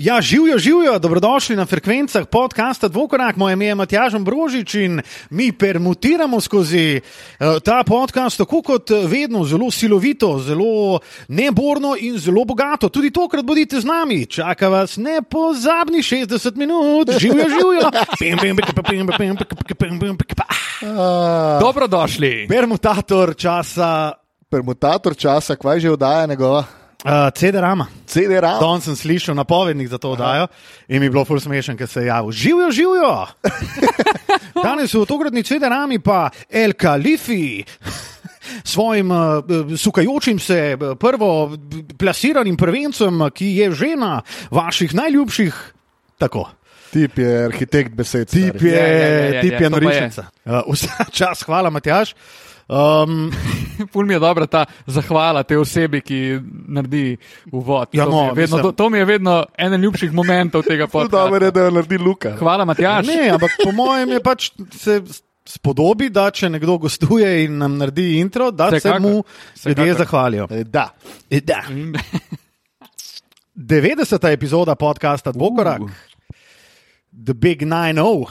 Ja, živijo, živijo, dobrodošli na frekvencah podcasta Dvokorak. Moje ime je Matjaž Ambrožič in mi permutiramo skozi eh, ta podcast, tako kot eh, vedno, zelo silovito, zelo neborno in zelo bogato. Tudi tokrat bodite z nami, čaka vas nepozabni 60 minut, živijo, živijo. Pim, pim, pika, pim, pim, pika, pika, pim, pim, pika, pa. Dobrodošli. Permutator časa Permutator časa, kvaj že oddaja njegova uh, CD-rama. CD-RAM. Danes sem slišal napovednik za to oddajo in mi je bilo ful smešen, ker se je javil. Živijo, živijo! Danes v tokratni CD-rami pa El Khalifi. Svojim uh, sukajočim se eh, prvo plasiranim prvencem, ki je že na vaših najljubših, tako. Tip je arhitekt besed. Tip je, Ja, ja, ja, ja, tip je ja, to pa je. norišnica. Uh, vsa čas, hvala, Matjaš. Um, Pul mi je dobra ta zahvala te osebi, ki naredi uvod. Ja, to, no, mi je vedno, mislim- to, to mi je vedno eden ljubših momentov tega podcasta. Dobro je, da jo naredi Luka. Hvala, Matjaž. Ne, ampak po mojem je pač se spodobi, da če nekdo gostuje in nam naredi intro, da se, se Vsekakor, mu vsekakor. ljudje zahvalijo. Eh, Da. E, Da. 90. epizoda podcasta Dvokorak, uh. The Big 9-0.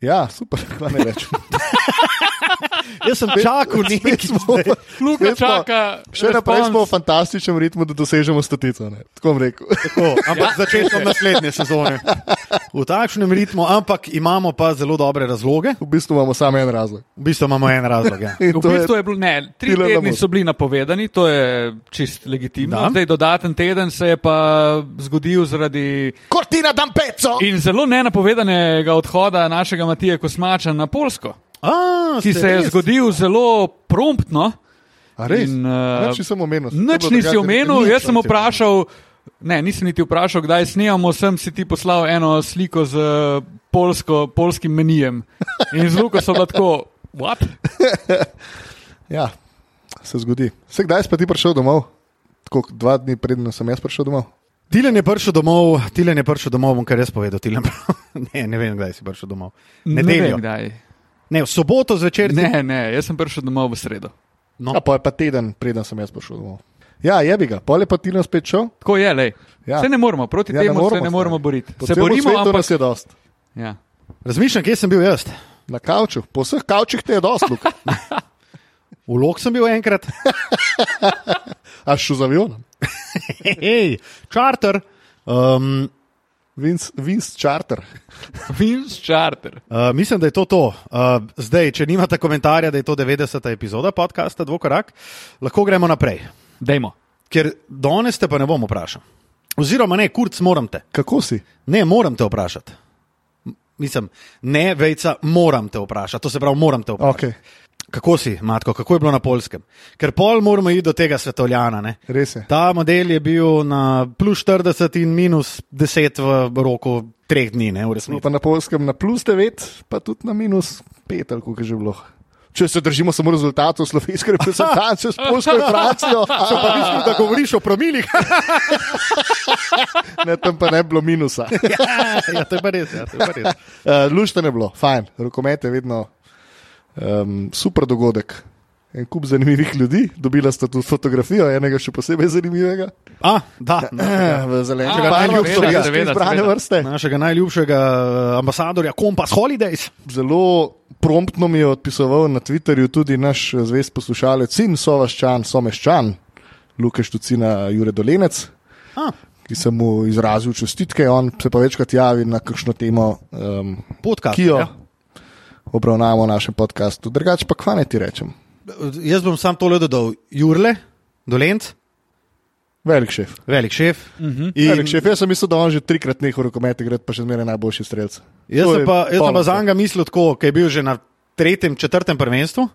Ja, super, kva ne več. Jaz sem čakal nekaj. Luka čaka. Še naprej respons. smo v fantastičnem ritmu, da dosežemo statico. Ne? Tako bom rekel. Tako, ampak ja. začetkom naslednje sezone. V takšnem ritmu, ampak imamo pa zelo dobre razloge. V bistvu imamo samo en razlog. V bistvu imamo en razlog. Ja. In V to je- bistvu je bilo, ne, tri Tile tedni Lamus. so bili napovedani, to je čist legitimno. Da. Zdaj dodaten teden se je pa zgodil zaradi Cortina d'Ampezzo! in zelo nenapovedanega odhoda našega Matije Kosmača na Polsko, A, ki ste se je res? zgodil zelo promptno. A res? In, In, eh, uh, Nič nisem omenil. Nič nisi omenil, jaz sem vprašal, ne, nisem niti vprašal, kdaj snemamo, sem si ti poslal eno sliko z eh, polsko, polskim menijem. In z Luko so bila tako, what? Ja, se zgodi. Vse kdaj si pa ti prišel domov? Tako dva dni predno sem jaz prišel domov. Tilen je prišel domov, Tilen je prišel domov, bom kar jaz povedal. Tilen, ne, ne vem, kdaj si prišel domov. Ne, Nedeljo. vem, kdaj. Ne, v soboto zvečer. ne, ne, jaz sem prišel domov v sredo. No. A pa Ja, je pa teden predno sem jaz prišel domov. Ja, je bi ga. Pol je pa Tino spet šel. Tako je, lej. Ja. Ja. Se ne moremo, proti Ja, ja, ne temu se moremo, ne moremo stari. boriti. Po Se celem borimo, svetu ampak. nas je dosti. Ja. Razmišljam, kje sem bil jaz. Na kavču, po vseh kavčih te je dosti, Luka. V Lok sem bil enkrat, a šel z avionom. hej, čarter. Um, Vince, Vince Charter. Vince Charter. uh, mislim, da je to to. Uh, zdaj, če nimate komentarja, da je to 90. epizoda podcasta Dvokorak, lahko gremo naprej. Dajmo. Ker danes te pa ne bom vprašal. Oziroma, ne, kurc moram te. Kako si? Ne, moram te vprašati. M- Mislim, ne, vejca, moram te vprašati. To se pravi, moram te vprašati. Okay. Kako si, Matko, kako je bilo na polskem? Ker pol moramo iti do tega svetovljana. Ne? Res je. Ta model je bil na plus 40 in minus 10 v roku treh dni, ne, v Smo resnici. pa na polskem na plus 9, pa tudi na minus 5, ali kako je že bilo. Če se držimo samo rezultatov slovenske reprezentance s polsko in Francijo, Pa mislim, da govoriš o promilih. ne, tam pa ne bi bilo minusa. ja, ja, to je pa res. Ja, to je pa res. Uh, Lušte ne bilo, fajn, rokomet je vedno um, super dogodek. En kup zanimivih ljudi, dobila sta tudi fotografijo, enega še posebej zanimivega, A, da, No, na- Eh, v zelenem Ja, barvi, seveda, obstoječega seveda, izbrane seveda. vrste. našega najljubšega eh, ambasadorja, kompas Holidays. Zelo promptno mi je odpisoval na Twitterju tudi naš eh, zvest poslušalec in sovaščan, someščan, Lukaš Tucina Jure Dolenec, A, ki sem mu izrazil čestitke. On se pa večkrat javi na kakšno temo, um, podcast. ki jo Ja. obravnavamo v našem podkastu. Drugače pa kva ne ti rečem. Jaz bom sam tole dodal. Jurle, dolenc, Velik šef. velik šef. Uh -huh. In... Velik šef. Jaz sem mislil, da on že trikrat nehal rokometi, gre pa še zmeraj najboljši strelec. Jaz To sem je pa, jaz sem pa polno. za njega mislil tako, ki je bil že na tretjem, četrtem prvenstvu.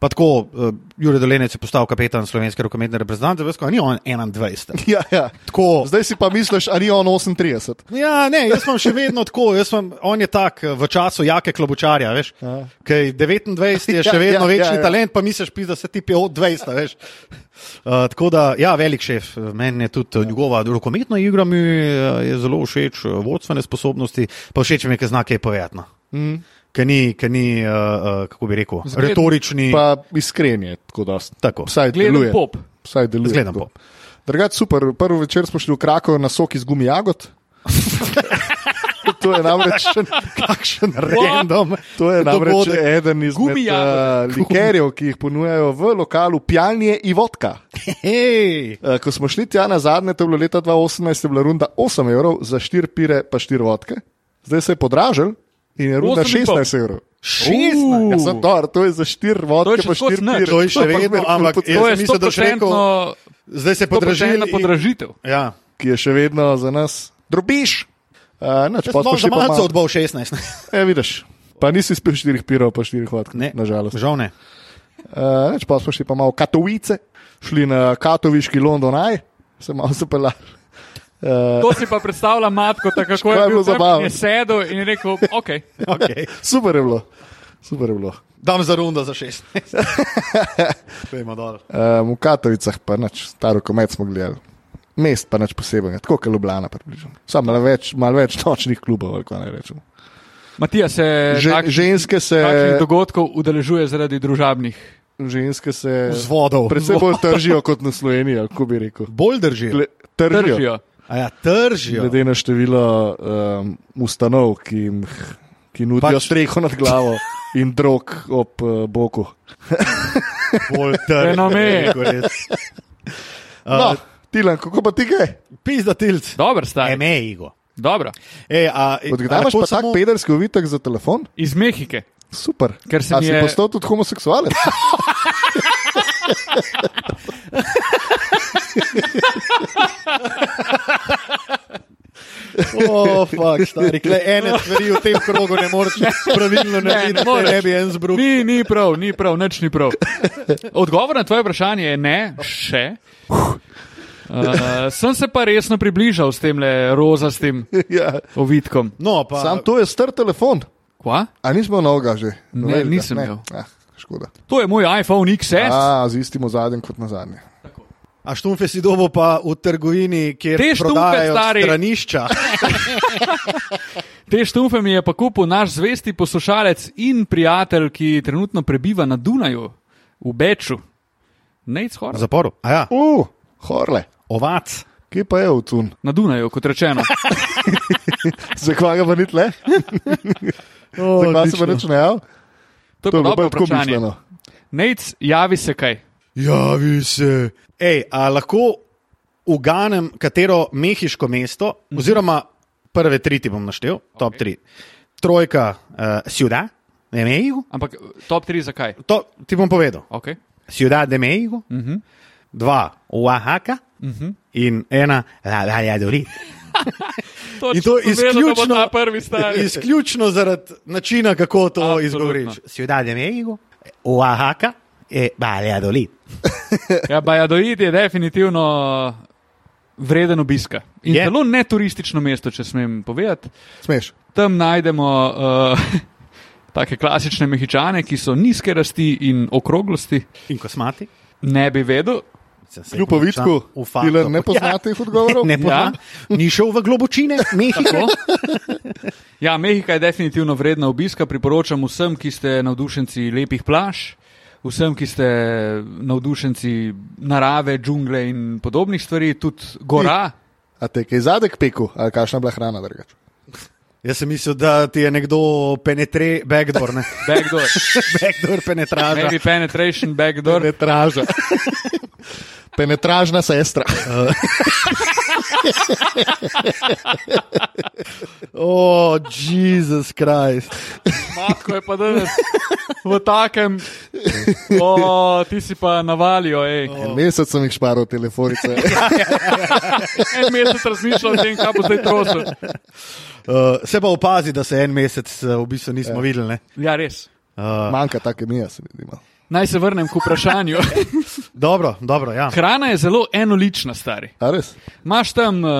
Pa tako, uh, Jurek Dolenec je postal kapetan slovenske rokometne reprezentance, veš, ko ni on 21. Ja, ja. Tako, Zdaj si pa misliš, ali je on 38. ja, ne, jaz sem še vedno tako, jaz sem, on je tak eh, v času jake klobučarja, veš. Kaj 29 je še Ja, vedno ja, večni ja, ja. talent, pa misliš, pizda se ti je od 20, veš. Uh, tako da, ja, velik šef, meni je tudi ja. njegova rokometna igra, mi eh, je zelo všeč, eh, vodstvene sposobnosti, pa všeč mi je, ker zna kaj povedati. no. Mm. Ki ni, ki ni uh, uh, kako bi rekel, Zgled- retorični. Pa, Pa iskren je, tako da. tako. Vsaj Gledam deluje. pop. Vsaj deluje. Zgledam tako. pop. Drugač super, prvi večer smo šli v Krakow na sok iz gumi jagod. to je namreč kakšen random. To je namreč Dogodek. eden izmed Gumi jagode. uh, likerjev, ki jih ponujajo v lokalu Pjanje in vodka. Hej, Eh, Ko smo šli tja na zadnje, to je bilo leta 2018, je bila runda 8 evrov za 4 pire, pa 4 vodke. Zdaj se je podražil in je runda Osem in pol. 16 evrov. šestna. Uh. Ja, sem dobro, to je za 4 vodke, še pa 4 skozi nič. pire. To je še pa vedno, kul ampak podpira. Jaz To je sem mislil, da boš rekel- 100% Zdaj se podražili. 100% podražitev. Ja. ki je še vedno za nas drobiš. Uh, nač, Če pa smo še že pa malce malo. odbol 16. E, vidiš. Pa nisi spil štirih pirov, pa štirih vodk, Ne, nažalost. Žal ne. Uh, nač, pa smo šli pa malo v Katovice, šli na katoviški Londonaj, se malo zapeljali. Uh, To si pa predstavlja matko, tako kako Kaj je je bil bilo tam, zabavno? je sedel in je rekel, ok, Okay. super je bilo, super je bilo. Dam za rundo za 16. Pejmo dol. Uh, v Katovicah pa nač, staro komet smo gledali. Mest pa nič posebnega, tako kot Ljubljana, približno. Samo malo več, mal več nočnih klubov, ali kaj naj rečemo. Matija se Že, eh, tak- ženske se, E, takšnih dogodkov udeležuje zaradi družabnih. ženske se Vzvodov. predvsem bolj tržijo kot na Sloveniji, ali kako bi rekel. Bolj drži. Gle, tržijo, tržijo. Držijo. A Ja, tržijo. Glede na število um, ustanov, ki, jim, ki nudijo Pač- pač. streho nad glavo in drog ob uh, boku. Bolj tržijo. Fenomen. No, Uh, Tilan, kako pa ti kaj? Pizda E, tilc. Dobro, stari. Eme, Igo. Dobro. Ej, E, a, Od a kdaj imaš lahko pa samo... tak pederski uvitek za telefon? Iz Mehike. Super. Ker se A mi si je- postal tudi homoseksualec? O, fuck, stari, kle, ene stvari v tem krogu ne moreš pravilno narediti, ne, ne ne, moreš. ne bi en zbruh. Ni, ni prav, ni prav, nič ni prav. Odgovor na tvoje vprašanje je ne, še. Uh, sem se pa resno približal s tem le rozastim ja. ovitkom. No, pa Sam to je star telefon. Kva? A nismo novega že? Ne, Novega? nisem Ne. imel. E! Ah, škoda. To je moj iPhone XS. A, z istim ozadjem kot na zadnje. A štumfe si dobo pa v trgovini, kjer Te štumfe, prodajajo stari. stranišča. Te štumfe mi je pa kupil naš zvesti poslušalec in prijatelj, ki trenutno prebiva na Dunaju, v Beču. Nec Horvat. Zaporu. A ja, Uh, horle. ovac. Kje pa je avtun? Na Dunaju, kot rečeno. Zakaj ga pa ni tle? O, Zakaj se pa nič ne javi? To je To je bilo bilo pa dobro tako vprašanje. mišljeno. Nec, javi se kaj. Javi se. Ej, a lahko uganem, katero mehiško mesto, oziroma prve tri ti bom naštel, okay. top tri. Trojka, uh, Ciudad, de Mexico. Ampak top 3 zakaj? To ti bom povedal. Okay. Ciudad de Mexico, uh -huh. dva, Oaxaca uh -huh. in ena, La Valladolid. Točno, In to sem vedel, da bo izključno- ta prvi stari. Izključno zaradi načina, kako to Absolutno. izgovoriš. Ciudad de Mexico, Oaxaca, eh, Valladolid. Ja, Bajadoid je definitivno vreden obiska. In Je. je. zelo neturistično mesto, če smem povedati. Smeš. Tam najdemo uh, take klasične mehičane, ki so nizke rasti in okroglosti. In kosmati. Ne bi vedel. Kljub ovitku, Tilan, Ja. ne poznate teh odgovorov? Ne poznam. Ja. Ni šel v globočine, mehko. Tako. Ja, Mehika je definitivno vredna obiska. Priporočam vsem, ki ste navdušenci lepih plaž, vsem, ki ste navdušenci narave, džungle in podobnih stvari, tudi gora. A te je zadek peku, ali kakšna bila hrana drugače? Jaz sem mislil, da ti je nekdo penetre, backdoor, ne? Backdoor, backdoor penetraža. maybe penetration, backdoor. Penetraža. Penetražna sestra. O, oh, Jezus Krist. Matko je pa danes v takem, o, ti si pa navalijo, ej. En mesec sem jih šparil telefonice. En mesec razmišljam o tem, kaj bo zdaj trosil. Uh, se pa opazi, da se en mesec uh, v bistvu nismo ja. videli. ne. Ja, res. Uh, Manjka take mija, se mi zdi. no. malo. Naj se vrnem k vprašanju. dobro, dobro, ja. Hrana je zelo enolična, stari. A res? Imaš tam uh,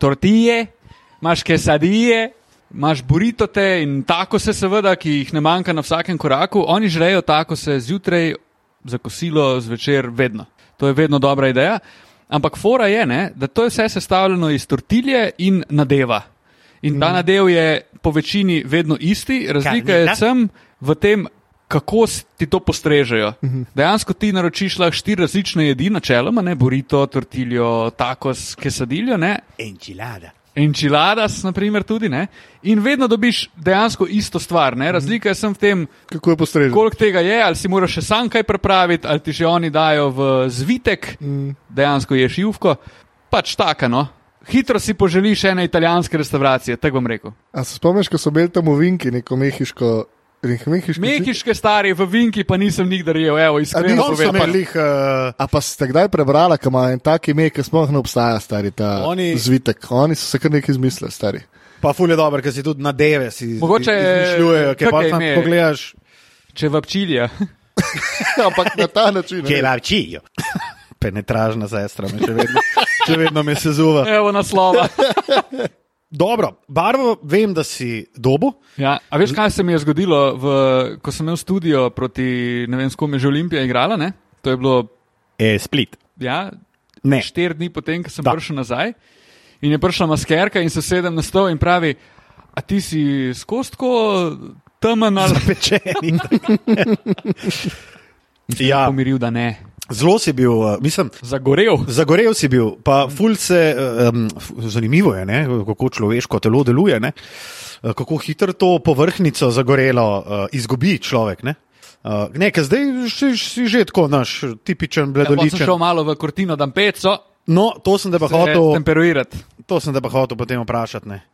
tortije, imaš kesadije, imaš buritote in tako se, seveda, ki jih ne manjka na vsakem koraku. Oni žrejo tako se zjutraj, za kosilo, zvečer, vedno. To je vedno dobra ideja. Ampak fora je, ne, da to je vse sestavljeno iz tortilje in nadeva. In ta nadev je po večini vedno isti, razlika je Kanita? sem v tem kako s- ti to postrežejo. Uh -huh. Dejansko ti naročiš lahko štiri različne jedi, načeloma, ne burrito, tortiljo, takos, kesadiljo, ne, Enčilada. enchiladas, naprimer, tudi ne. In vedno dobiš dejansko isto stvar. Ne? Razlika je samo v tem, Kako je postrežen? koliko tega je, ali si moraš še sam kaj prepraviti, ali ti že oni dajo v zvitek, Mm. dejansko ješ juvko, pač takano. Hitro si poželiš ene italijanske restauracije, tako bom rekel. A se spomniš, ko so bili tam v Vinki, neko mehiško. nek mehiški zid? Mehiške stare, v Vinki pa nisem nikdar jel, evo, iskreno A Tam so povedano. imeli lih, uh, A pa ste kdaj prebrala, kam ima en tak ime, ki sploh ne obstaja, stari ta Oni- Oni... zvitek. Oni so se kar nekaj izmislili, stari. pa fulje dobro, ker si tudi na deve si Mogoče je- izmišljujejo, ker pa kakaj tam ime je? pogledaš, Če vapčilja. Ampak na ta način. kje lavčijo. Penetražna sestra, me še vedno, še vedno me sezuva. Evo naslova. Dobro, barvo vem, da si dobo. Ja, a veš, kaj se mi je zgodilo, v, ko sem imel studio proti, ne vem, s kom je že Olimpija igrala, ne? To je bilo, E, split. ja, Ne. štiri dni potem, ko sem Da. da. prišel nazaj. In je prišla maskerka in se sedem na stol in pravi, a ti si skozi tako temen ali Zapečeni. ja, ja. pomiril, da ne. zelo si bil, eh, mislim, Zagorel. Zagorel si bil, pa Mhm. ful se, um, zanimivo je, ne, kako človeško telo deluje, ne, eh, kako hitro to površnico zagorelo uh, izgubi človek. Ne, uh, ne ker zdaj si, si že tako naš tipičen Ja, potem sem bledoličen. šel malo v Cortino d'Ampezzo, No, to sem te pa hotel, temperirati. to sem te pa hotel potem vprašati. Ne.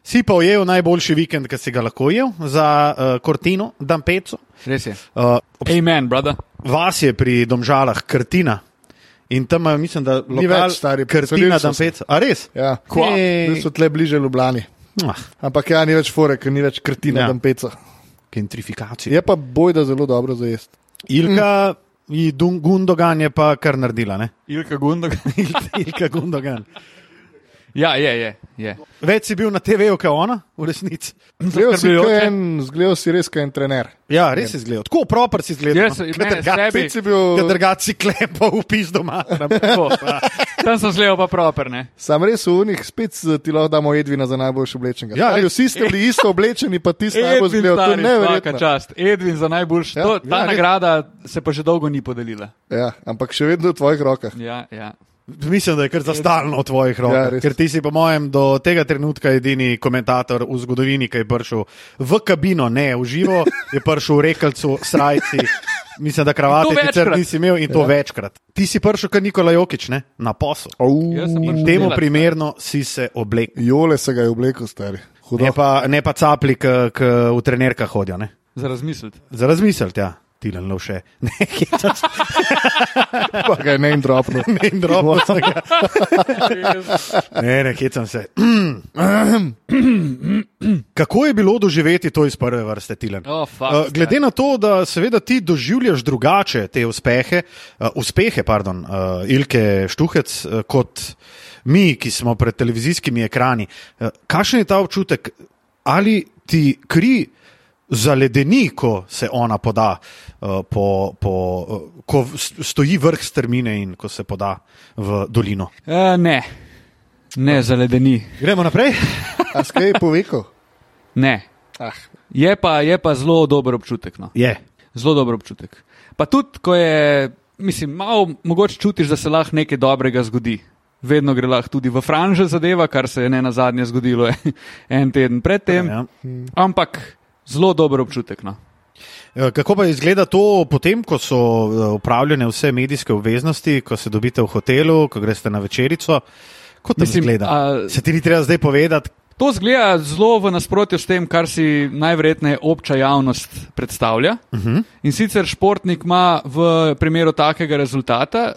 Si pa ujel najboljši vikend, ki si ga lahko ujel za uh, Cortino, Dampeco. Res je. Uh, Amen, brada. vas je pri Domžalah Krtina in tam imajo, mislim, da lokal, več, stari, Krtina, preselili so se. Dampeco. A res? Ja, Kva? Zdaj so tle bliže Ljubljani. Ah. Ampak ja, ni več forek, ni več Ja. krtina, ja. tam peca. gentrifikacija. Je pa bojda zelo dobro za jesti. Ilka mm. Gundogan je pa kar naredila, ne? Ilka Gundog. Ilka Gundogan. ja, je, je. je. Več si bil na TV-ju, kot ona, v resnici. Zgledal si, kot Zaskrbljujoče. en, zgledal si res kot en trener. Ja, res je zgled. Tako proper si no. zgled. Jaz, mene, Ja, sebi. Si bil, Drgat si klepo, upis doma. Tako. Tam sem zleval pa properne. sam res v unih, spet s- ti lahko damo Edvina za najboljši oblečenega. Ja, Ja, res. vsi ste bili isto oblečeni, pa ti si najbolj Edvin, zgledal. To je stari, vsaka neverjetno. čast. Edvin za najboljši. Ja, Ja, ta ja, ja, res. nagrada se pa že dolgo ni podelila. Ja, ampak še vedno v tvojih rokah. Ja, ja. Mislim, da je kar zastalno v tvojih Ja, rokah. Ja, res. ker ti si, po mojem, do tega trenutka edini komentator v zgodovini, ki je prišel v kabino, ne v živo, je prišel v rekalcu, srajci. Mislim, da kravate In to sicer večkrat. nisi imel in to ja. večkrat. Ti si prišel kot Nikola Jokič, ne? na posel. Au. Jaz sem prišel In temu delat, primerno si se oblekel. Jole se ga je oblekel, stari. Hudo. Ne pa, ne pa capli, ki v trenerkah hodijo. Ne? Za razmisliti. Za razmisliti, ja. Tilen lov še. Ne, hecam se, pa ga je name dropnil. ne, drobo sem ga. Ne, ne, hecam se. Kako je bilo doživeti to iz prve vrste, Tilen? Oh, fuck, Eh, Glede na to, da seveda ti doživljaš drugače te uspehe, eh, uspehe pardon, eh, Ilke Štuhec, eh, kot mi, ki smo pred televizijskimi ekrani. Eh, Kakšen je ta občutek, ali ti kri zaledeni, ko se ona poda, eh, po, po, eh, ko v- s- stoji vrh strmine in ko se poda v dolino? E, ne, ne za ledeni. Gremo naprej. A skaj je povekel? Ne. Ah, Je pa, je pa zelo dober občutek. No. Je. Zelo dober občutek. Pa tudi, ko je, mislim, malo mogoče čutiš, da se lahko nekaj dobrega zgodi. Vedno gre lahko tudi v franže zadeva, kar se je ne na zadnje zgodilo en teden predtem. Ja. Ampak zelo dober občutek. No. Eh, Kako pa izgleda to potem, ko so eh, upravljene vse medijske obveznosti, ko se dobite v hotelu, ko greste na večerico? Kot Mislim, Mislim, izgleda? A... a- Se ti ni treba zdaj povedati, To zgleda zelo v nasprotju s tem, kar si najverjetneje obča javnost predstavlja. Uh -huh. In sicer športnik ima v primeru takega rezultata,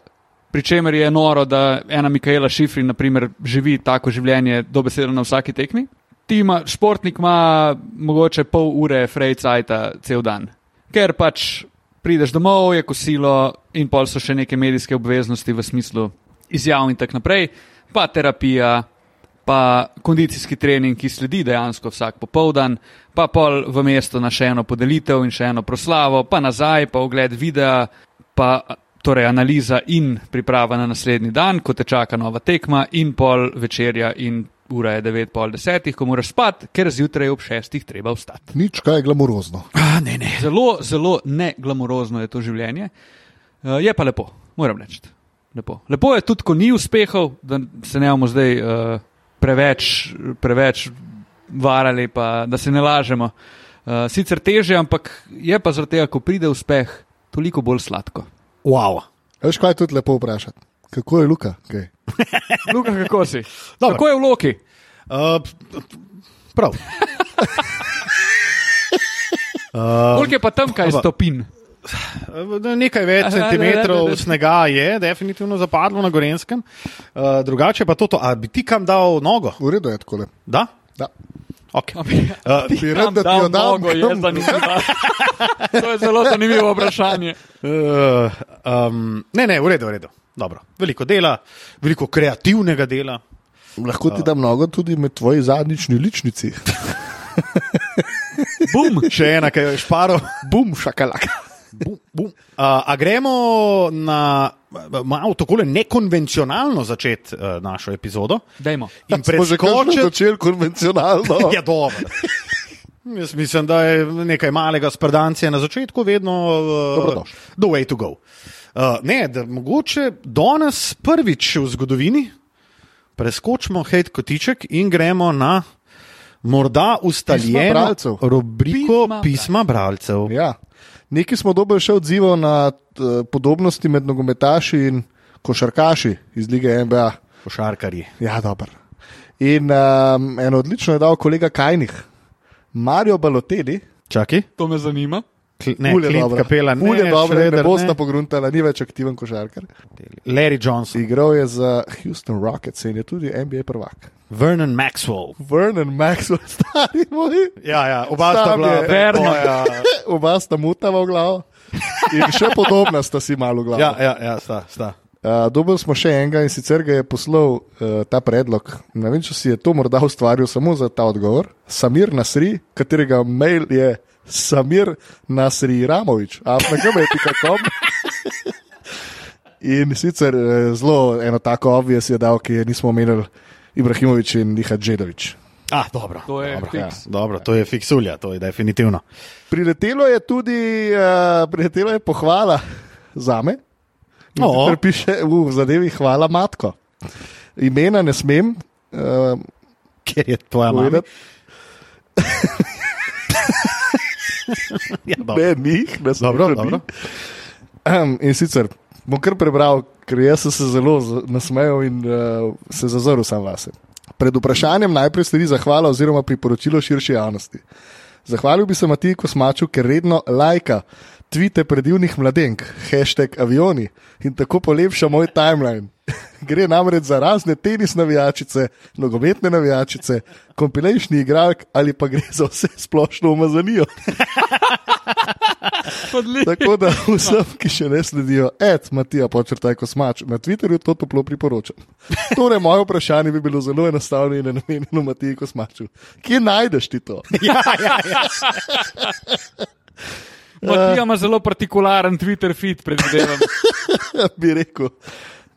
pri čemer je noro, da ena Mikaela Šifrin naprimer, živi tako življenje dobesedno na vsaki tekmi. Ti Ima, športnik ima mogoče pol ure frajcajta cel dan, ker pač prideš domov, je kosilo in pol so še neke medijske obveznosti v smislu izjav in tako naprej, pa terapija, pa kondicijski trening, ki sledi dejansko vsak popoldan, pa pol v mesto na še eno podelitev in še eno proslavo, pa nazaj, pa ogled videa, pa torej analiza in priprava na naslednji dan, ko te čaka nova tekma, in pol večerja in ura je 9, pol 10, ko moraš spati, ker zjutraj ob 6 treba vstati. Nič, kaj je glamurozno. Ah, ne, ne. Zelo, zelo ne glamurozno je to življenje. Eh, Je pa lepo, moram reči. Lepo. lepo je tudi, ko ni uspehov, da se ne bomo zdaj eh, preveč, preveč varali, pa, da se ne lažemo. Eh, Sicer teže, ampak je pa zaradi tega, ko pride uspeh, toliko bolj sladko. Wow. A Veš, kaj je tudi lepo vprašati? Kako je Luka? Kaj? Luka, kako si? Dobro. Kako je v Loki? Uh, prav. Um, Koliko je pa tam, kaj pa- stopin? Eh, Nekaj več Aha, da, da, centimetrov da. snega je definitivno zapadlo na Gorenskem, uh, drugače pa to, to. A bi ti kam dal nogo? V redu je tako. Da? Eh, Da. Okay. Bi rad, da ti jo dam. Mnogo je kam? zanimivo. to je zelo zanimivo vprašanje. Uh, um, ne, ne, v redu, v redu. Dobro. Veliko dela, veliko kreativnega dela. Lahko ti dam mnogo tudi med tvoji zadnjični ličnici. Bum! Še ena, ki jo je šparil. Bum, šakalak. Bum, bum. Uh, a gremo na eh, malo tako nekonvencionalno začeti uh, našo epizodo. Dajmo. In Smo že končno preskočiti. začeli konvencionalno. Ja, dobro. Jaz mislim, da je nekaj malega sprdancije na začetku vedno uh, Dobrodošli. the way to go. Uh, ne, da mogoče danes prvič v zgodovini preskočimo hate kotiček in gremo na morda Pisma ustaljeno bralcev. rubriko Pisma pisma bralcev. Ja. Nekaj smo dobili še odzivov na eh, podobnosti med nogometaši in košarkaši iz lige NBA. Košarkarji. Ja, dobro. In um, eno odlično je dal kolega Kajnih, Marijo Baloteli, Čakaj, To me zanima. Kl- ne, Ul je Clint dobra. Capela, ne, Ul je dobro, ne Schroeder, bosta ne. pogruntala, ni več aktiven košarkar. Larry Johnson, Igral je za Houston Rockets in je tudi NBA prvak. Vernon Maxwell. Vernon Maxwell, stari moj. Ja, ja, oba Sam sta bila je- Vernon. boja. Oba sta mutava v glavo. In še podobna sta si malo v glavo. Ja, ja, ja, sta, sta. Uh, Dobili smo še enega in sicer ga je poslal uh, ta predlog. Ne vem, če si je to morda ustvaril samo za ta odgovor. Samir Nasri, katerega mail je Samir Nasri Ramovič, afnagame.com. In sicer eh, zelo eno tako obvijes je dal, ki je nismo omenili Ibrahimovič in Niha Džedovič. Ah, dobro. To je dobro, fiks. Ja, dobro, to je fiksulja, to je definitivno. Priletelo je tudi, uh, priletelo je pohvala za me. No. No. Piše v zadevi hvala matko. Imena ne smem. Uh, Ker je tvoja mama. Povedati. Ja, dobro. Ne, njih, ne smem. Dobro, ni. dobro. Ehm, In sicer bom kar prebral, ker jaz sem se zelo z- nasmejal in uh, se zazrl sam vase. Pred vprašanjem najprej sledi zahvala oziroma priporočilo širši javnosti. Zahvalil bi se Matiji Kosmaču, ker redno lajka tvite predivnih mladenk, hashtag avioni in tako polepša moj timeline. Gre namreč za razne tenis navijačice, nogometne navijačice, kompilejšni igralk ali pa gre za vse splošno umazanijo. Odlično. Tako da Ja. vsem, ki še ne sledijo, et, Matija, počrtaj kosmač, na Twitterju to toplo priporočam. Torej, moje vprašanje bi bilo zelo enostavno in namenjeno Matiji Kosmaču. Kje najdeš ti to? Ja, ja, ja. Matija ima No, zelo partikularen Twitter feed, predvidevam. Ja. bi rekel.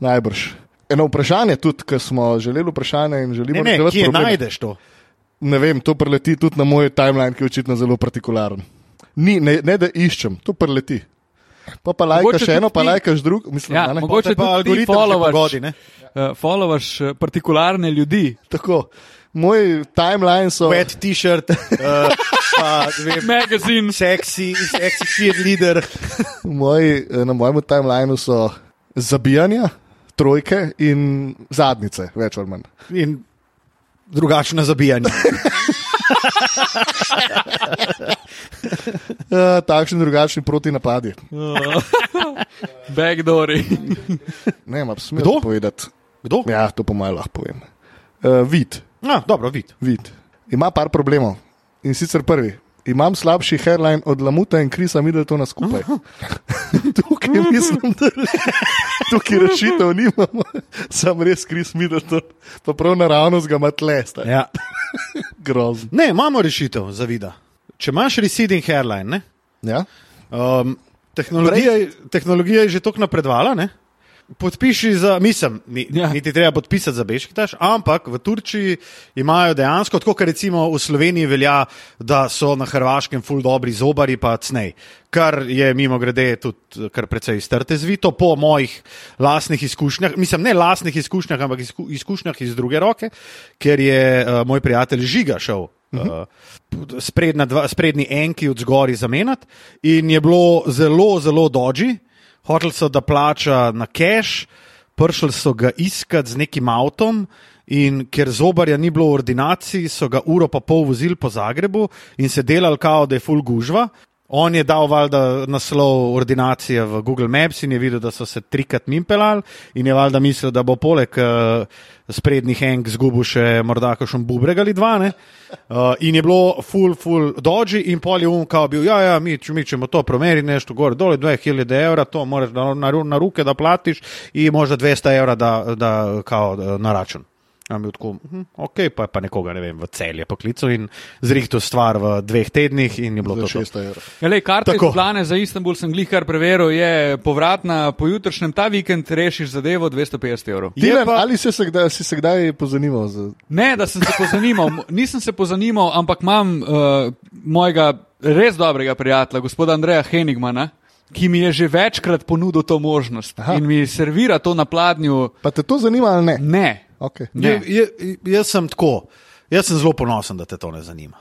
Najbrž. Eno vprašanje tudi, ker smo želeli vprašanje in Ne, želimo ne, reševati kje probleme. najdeš to? Ne vem, to preleti tudi na moj timeline, ki je očitno zelo partikularen. Ni, ne, ne da iščem, to preleti. Pa pa lajkaš Mogoče tudi eno, pa ti- lajkaš drugo, mislim, Ja, a ne. mogoče Te pa tudi ti algoritem followaš. pogodi, ne? Uh, followaš eh, partikularne ljudi. Tako. Moj timeline so. Wet t-shirt, uh, pa dve Magazin. seksi, seksi cheerleader. V Moji, eh, na mojem timelineu so zabijanja, trojke in zadnjice, več ali manj. In drugačno zabijanje. E, takšni in drugačni protinapadi. Backdoori. Ne, imam smem Kdo? to povedati. Kdo? Ja, to po mojem lahko povem. E, vid, No, dobro, vid. vid. Ima par problemov. In sicer prvi. Imam slabši hairline od Lamuta in Krisa Middletona skupaj. Tukaj mislim, da tukaj rešitev nimamo, sam res Kris Middleton, pa prav naravnost ga ima tlesta. Ja. Grozno. Ne, imamo rešitev za vida. Če imaš receding hairline, ne? Ja? Um, tehnologija, je- tehnologija je že tako napredovala, ne? Podpiši za, mislim, ni, ja. Ja. niti treba podpisati za Bešiktaš, ampak v Turčiji imajo dejansko, tako kot recimo v Sloveniji velja, da so na Hrvaškem ful dobri zobari, pa cnej. Kar je mimo grede tudi eh, kar precej strte zvito, po mojih lastnih izkušnjah, mislim, ne lastnih izkušnjah, ampak izku, izkušnjah iz druge roke, ker je uh, moj prijatelj Žiga šel. Uh, spredna dva, sprednji enki od zgori zamenjati, in je bilo zelo, zelo doži. Hoteli so, da plača na cache, prišli so ga iskat z nekim avtom. In ker zobarja ni bilo v ordinaciji, so ga uro pa pol vozili po Zagrebu in se delali, kao da je full gužva. On je dal valjda naslov ordinacije v Google Maps in je videl, da so se trikrat mim pelali in je valjda mislil, da bo poleg uh, sprednjih enk zgubil še morda kakšen bubreg ali dva. ne. Uh, in je bilo full, full doji in pol je um kao bil, ja, ja, mi, če, mi ćemo to promeriti, nešto gore, dole 2000 evra, to moraš na, na, ru- na ruke da platiš i možda 200 evra da, da kao eh, na račun. Ja, mi tako, hm, ok, pa je pa nekoga, ne vem, v celje poklical in zrihtel stvar v dveh tednih in je bilo to. Za to. 600 evrov. Ja, lej, karta Tako. Tako. iz Ljubljane za Istanbul sem glih kar preveril, je povratna pojutrišnjem, ta vikend rešiš zadevo 250 evrov. Je Tilen, pa- ali si se kdaj, si se kdaj pozanimal za Ne, da sem se pozanimal, m- nisem se pozanimal, ampak imam uh, mojega res dobrega prijatelja, gospoda Andreja Henigmana, ki mi je že večkrat ponudil to možnost Aha. in mi servira to na pladnju. Pa te to zanima ali ne? Ne, Okay. Je, ne. je, jaz sem tako, jaz sem zelo ponosen, da te to ne zanima.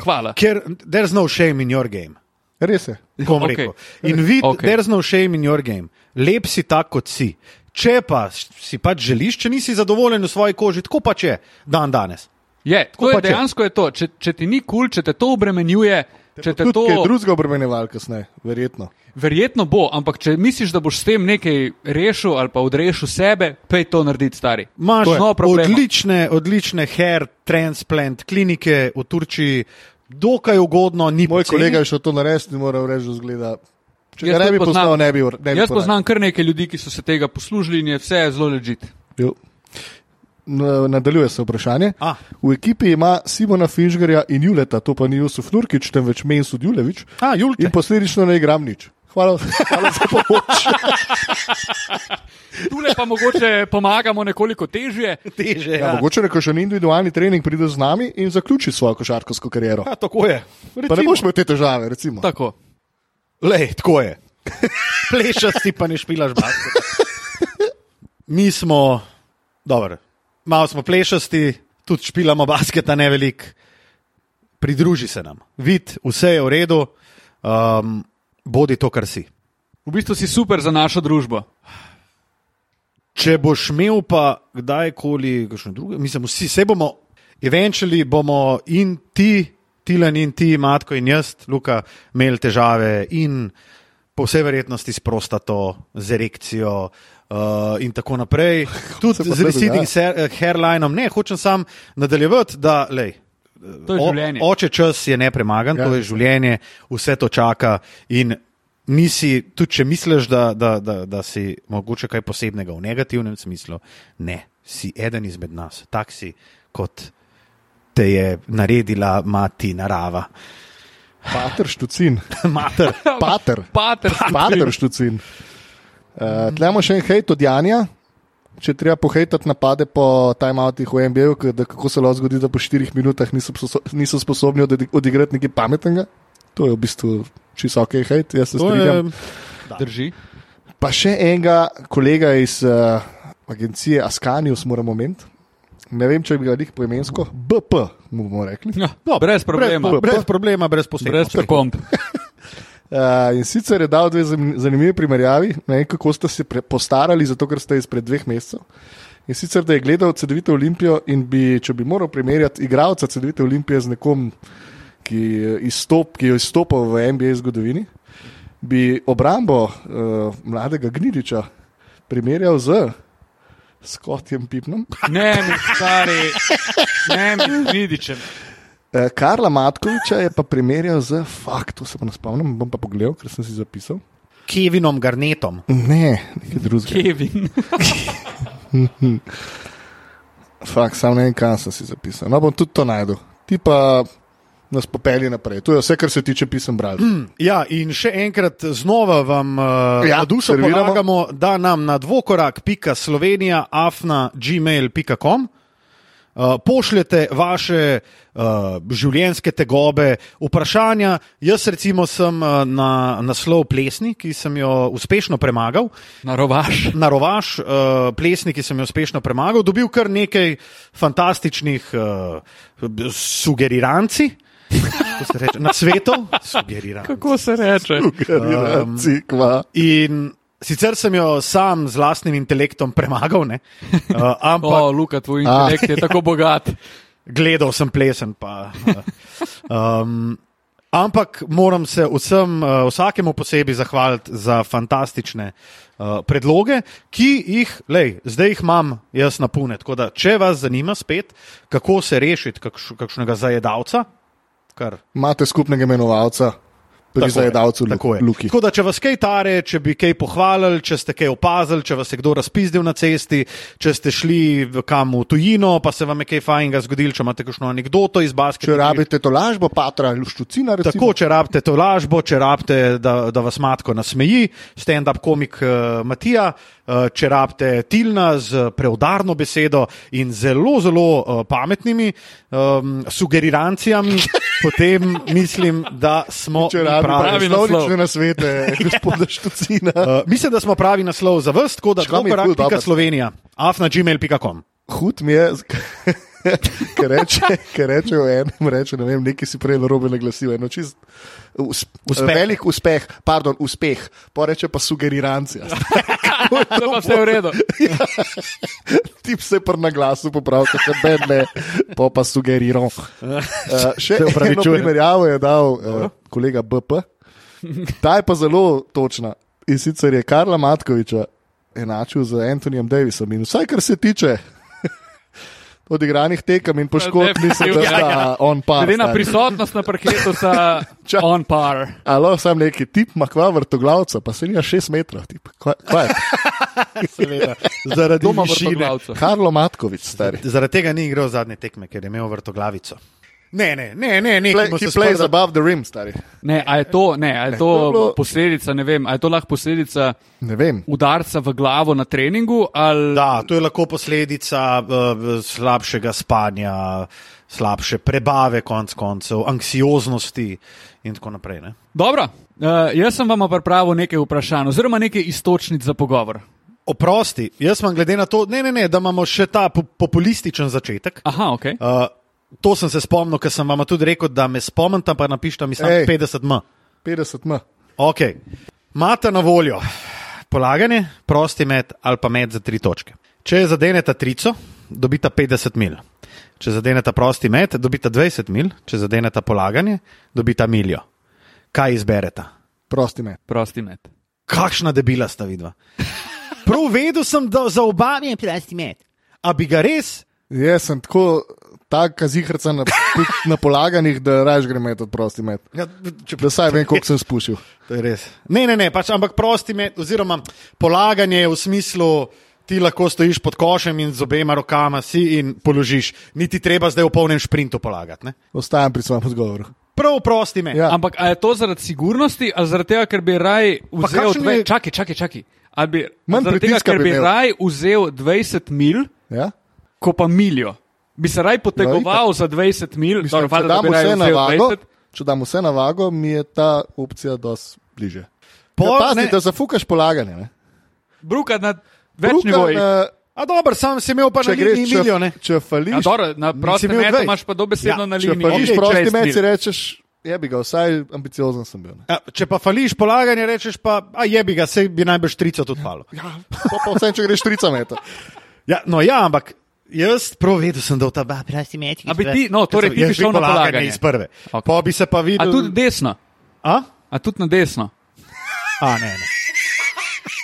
hvala. Ker there's no shame in your game. Res je. Kom Okej. rekel. In vid, okay. Okej. there's no shame in your game. Lep si tak, kot si. Če pa si pač želiš, če nisi zadovoljen v svoji koži, tako pač je dan danes. Je, tako pač je pa če. dejansko je to. Če, če ti ni kul, cool, če te to obremenjuje, če te Tudi to... kaj to drugega obremenjeval kasneje, verjetno. verjetno bo, ampak če misliš, da boš s tem nekaj rešil ali pa odrešil sebe, pej to narediti, stari. Imaš no problem. odlične, odlične hair transplant klinike v Turčiji, dokaj ugodno, ni Moj poceni. kolega je šel to narediti in moral reči, da zgleda. Če Jaz ga ne bi tudi poznam- poznal, ne bi ne bi Jaz porabil. poznam kar nekaj ljudi, ki so se tega poslužili in je vse zelo ležit. Jo. Na- Nadaljuje se vprašanje. A. V ekipi ima Simona Finžgarja in Juleta, to pa ni Jusuf Nurkič, temveč Mensu Djulevič. A, Julke. In posledično ne igram nič. Hvala, hvala za pomoč. Tule pa mogoče pomagamo nekoliko težje. Teže, Ja, ja. mogoče neko še en individualni trening pride z nami in zaključi svojo košarkarsko kariero. Ja, tako je. Pa ne Recimo. boš imel te težave, recimo. Tako. Lej, tako je. Plešasti pa ne špilaš basketa. Mi smo, dobro, malo smo plešasti, tudi špilamo basketa ne veliko. Pridruži se nam, vid, vse je v redu, um, bodi to, kar si. V bistvu si super za našo družbo. Če boš imel pa kdajkoli, kakšno drugo, mislim, vsi se bomo, eventually bomo in ti, Tilan in ti, Matko in jaz, Luka, imeli težave in po vsej verjetnosti s prostato, z erekcijo. Uh, in tako naprej, Se tudi pa z to receding dogaja. ser- eh, hairlinom. Ne, hočem sam nadaljevati, da lej, To je o- življenje. oče čas je nepremagan, ja. Ja. to je življenje, vse to čaka. In nisi, tudi če misliš, da, da, da, da si mogoče kaj posebnega v negativnem smislu, ne, si eden izmed nas, tak si kot te je naredila mati narava. Pater štucin. Mater, Pater. Pater, Pater štucin. Uh, Tlemo še en hejt od Janja. Če treba pohejtati napade po timeoutih v NBA, -ju, da kako se lahko zgodi, da po štirih minutah niso, sposo- niso sposobni odedi- odigrati nekaj pametnega, to je v bistvu čisto ok hejt, jaz se to je, strinjam. drži. Pa še enega kolega iz uh, agencije Askanius, moram omeniti. Ne vem, če bi ga rekel poimensko, BP mu bomo rekli. Ja, brez problema. no, brez, brez problema, brez Brez posebnosti. pripomb. Uh, in sicer je dal dve zanim- zanimivi primerjavi, ne vem, kako ste se pre- postarali, zato ker ste izpred dveh mesecev. In sicer, da je gledal CD-vito Olimpijo in bi, če bi moral primerjati igralca CD-vite Olimpije z nekom, ki, eh, izstop, ki je izstopal v NBA zgodovini, bi obrambo uh, mladega Gnidiča primerjal z Scottjem Pipnom, Ne, mi stari, ne, mi vidičem. Eh, Karla Matkoviča je pa primerjal z faktom, se pa ne spomnim, bom pa pogledal, ker sem si zapisal. Kevinom Garnetom. Ne, nekaj drugega. Kevin. Fak, sam ne vem, kam sem si zapisal. No, bom tudi to najdel. Ti pa nas popelje naprej. To je vse, kar se tiče pisem bralcev. Mm. Ja, in še enkrat znova vam uh, ja, Ja, dušo serviramo. pomagamo, da nam na dvokorak.slovenija, afna, gmail.com. Uh, pošljete vaše uh, življenjske tegobe, vprašanja. Jaz, recimo, sem uh, na naslov plesni, ki sem jo uspešno premagal, Na rovaš. na rovaš, uh, plesni, ki sem jo uspešno premagal, dobil kar nekaj fantastičnih uh, sugeriranci, kako se reče, na svetu, sugeriranci. Kako se reče? Um, Cikva. In sicer sem jo sam z vlastnim intelektom premagal, ne? uh, ampak O, Luka, tvoj intelekt je tako bogat. gledal sem plesen. Pa, uh, um, ampak moram se vsem, uh, vsakemu posebej zahvaliti za fantastične uh, predloge, ki jih, lej, zdaj jih imam jaz na pune. Tako da, če vas zanima spet, kako se rešiti kakš, kakšnega zajedavca. Kar Imate skupnega imenovalca pri Tako je, zajedavcu Lu- tako je. Luki. Tako da, če vas kaj tare, če bi kaj pohvalili, če ste kaj opazili, če vas je kdo razpizdil na cesti, če ste šli v- kam v tujino, pa se vam je kaj fajnega zgodilo, če imate kakšno anegdoto iz basketa. Če rabite to lažbo, patra, luščucina, recimo. Tako, če rabite to lažbo, če rabite, da, da vas matko nasmeji, stand-up komik uh, Matija, uh, če rabite Tilna z eh, preudarno besedo in zelo, zelo uh, pametnimi um, sugerirancijami, potem mislim, da smo mi Če rabite pravi pravi naslov. pravnične nasvete, gospoda Štucina. Uh, mislim, da smo pravi naslov za vrst, tako da Škoda lahko mi je ful rečemo dobro. Slovenija, afnagmail.com. Hud mi je, z- ker reče, ker reče o enem, reče, ne vem, neki si prej robe naglasil, eno čist. Usp, Uspeh. uspeh. Velik uspeh, pardon, uspeh, pa reče pa sugerirancija. To pa vse v redu. Tip se je pr na glasu popravil, se bene, pa pa sugeriron. Uh, še eno opravičujem. primerjavo je dal uh, kolega BP. Ta je pa zelo točna. In sicer je Karla Matkoviča enačil z Antonijem Davisom. In vsaj kar se tiče odigranih tekem in poškodb, mislim, da Definitivno, sta ja, ja. on pa. Glede na prisotnost na parketu, sta Ča- on par. Alo, sam neki tip, ima kva vrtoglavca, pa se nima šest metrov. Tip. Kva, kva je? Seveda, zaradi Doma višine. vrtoglavca. Karlo Matkovič, stari. Zaradi tega ni igral zadnje tekme, ker je imel vrtoglavico. Ne, ne, ne, ne, ne. Play, he plays above the rim, stari. Ne, a je to, ne, a to je je to bilo- posledica, ne vem, a je to lahko posledica Ne vem. udarca v glavo na treningu ali Da, to je lahko posledica uh, slabšega spanja, slabše prebave, konc koncev, anksioznosti in tako naprej. Ne? Dobro, uh, jaz sem vam pripravil nekaj vprašanj, oziroma nekaj istočnic za pogovor. Oprosti, jaz imam glede na to, ne, ne, ne, da imamo še ta po- populističen začetek. Aha, ok. Uh, to sem se spomnil, ker sem vam tudi rekel, da me spomnite, pa napišite mi samo Ej. 50m. 50 m. Okay. Mata na voljo polaganje, prosti met ali pa met za tri točke. Če zadeneta trico, dobita 50 mil. Če zadeneta prosti met, dobita 20 mil, če zadeneta polaganje, dobita miljo. Kaj izbereta? Prosti me. Prosti met. Kakšna debila sta vidva? Prav vedel sem, da za oba je prosti met. A bi ga res? Jaz sem tako, tako zihrca na, tudi na polaganjih, da raž grem metod prosti met. Ja, če Da saj vem, koliko sem spušil. To je res. Ne, ne, ne pač, ampak prosti met, oziroma polaganje je v smislu. Ti lahko stojiš pod košem in z obema rokama si in položiš. Ni ti treba zdaj v polnem šprintu polagati. Ne? Ostajam pri svojem odgovoru. Prav prosti met. Ja. Ampak a je to zaradi sigurnosti ali zaradi tega, ker bi raj vzel kakšen 20 mil? je- Čakaj, čakaj, čakaj. A Bi, Manj zaradi tega, pritiska ker bi bi imel. raj vzel 20 mil, Ja? ko pa miljo. Bi se raj potegoval za 20 mil, Mislim, Dobro, če, valjda, da dam bi raje vse na vzel vago, 20. če dam vse na vago, mi je ta opcija dosti bliže. Pol, Ja, pazi, ne. da zafukaš polaganje. Ne? Bruka na več Druga, nivojih. eh, A dobro, sam si imel pa Če na liniji greš, milijon. če, ne? če fališ, Ja, dobro, na prostem imel metu 20. imaš pa dobesedno Ja, ja, na če liniji. fališ Ok, prosti 20 met, mil. si rečeš, je bi ga, vsaj ambiciozen sem bil. Ne? Ja, če pa fališ polaganje, rečeš pa, a je bi ga, sej bi najbrž trico tudi palo. Ja, pa, pa vse, če greš 30 metrov. Ja, no ja, ampak jaz prav vedel sem, da v ta ba prosti met. A bi ti- no, torej ti bi šel na polaganje. iz prve. Ok. Pa bi se pa A videl. tudi desno, A? a tudi na desno. A, ne, ne.